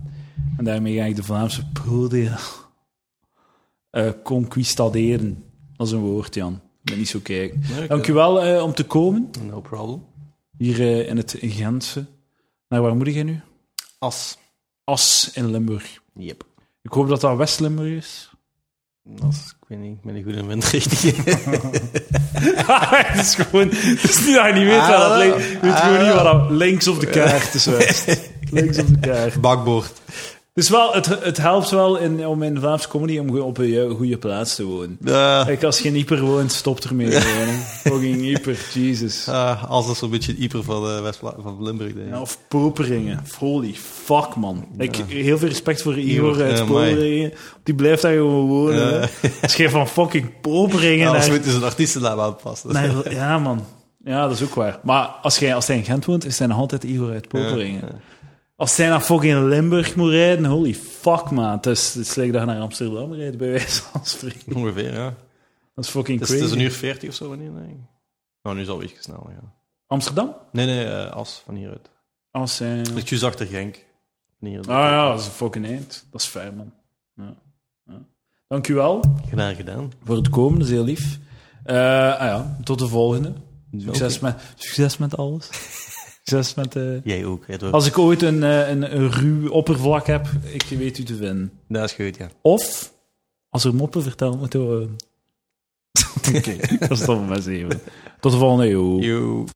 En daarmee ga ik de Vlaamse podia eh conquistaderen. Dat is een woord, Jan. Ik ben niet zo kijken.
oké.
Dank u wel eh, om te komen.
No problem.
Hier eh, in het Gentse. Naar waar moet jij nu?
As.
As in Limburg.
Yep.
Ik hoop dat dat West-Limburg is.
As, ik weet niet, ik ben niet goed in windrichting.
het is gewoon... Het is niet dat je niet
Ah,
weet waar dat links... Je weet gewoon niet waar dat links op de kaart is. West. links op de kaart.
Bakboord.
Dus wel, het, het helpt wel in, om in Vlaamse comedy om op een ju- goede plaats te wonen.
Eh,
Kijk, als je in Ieper woont, stop ermee. gewoon, hè. Fucking Ieper, Jesus.
eh, als dat zo'n beetje het Ieper van, eh, West- van Limburg, denk ik.
Ja, Of Poperingen. Holy fuck, man. Ik, heel veel respect voor Igor
Igor,
uit
ja, amai.
Poperingen. Die blijft daar gewoon wonen. hè.
Ja.
Schreef van fucking Poperingen
Ja, als
naar-
we het is een artiestennaam aanpassen.
naar- Ja, man. Ja, dat is ook waar. Maar als jij, als hij in Gent woont, is hij nog altijd Igor uit Poperingen. Als hij naar fucking Limburg moet rijden, holy fuck, man. Het is, het is like dat je naar Amsterdam rijdt, bij wijze van spreken.
Ongeveer, ja.
Dat is fucking
Dus Het
crazy.
is, het is een uur veertig of zo, wanneer denk ik. Nou, nu is het al ietsje sneller, ja.
Amsterdam?
Nee, nee, eh, As, van hieruit.
Als hij... Ah
Ligt juist achter Genk. Van hier.
ja, dat is een fucking eind. Dat is fair, man. Ja. Ja. Dank u wel.
Gedaan, gedaan.
voor het komen. Dat is heel lief. Eh, ah ja, tot de volgende. Succes, met, succes met alles. succes met... eh,
Jij ook, Edward.
als ik ooit een, eh, een, een ruw oppervlak heb, ik weet u te vinden.
Dat is goed, ja.
Of, als er moppen verteld moeten worden. Oké, dat is dan maar eens even. Tot de volgende eeuw.
Yo.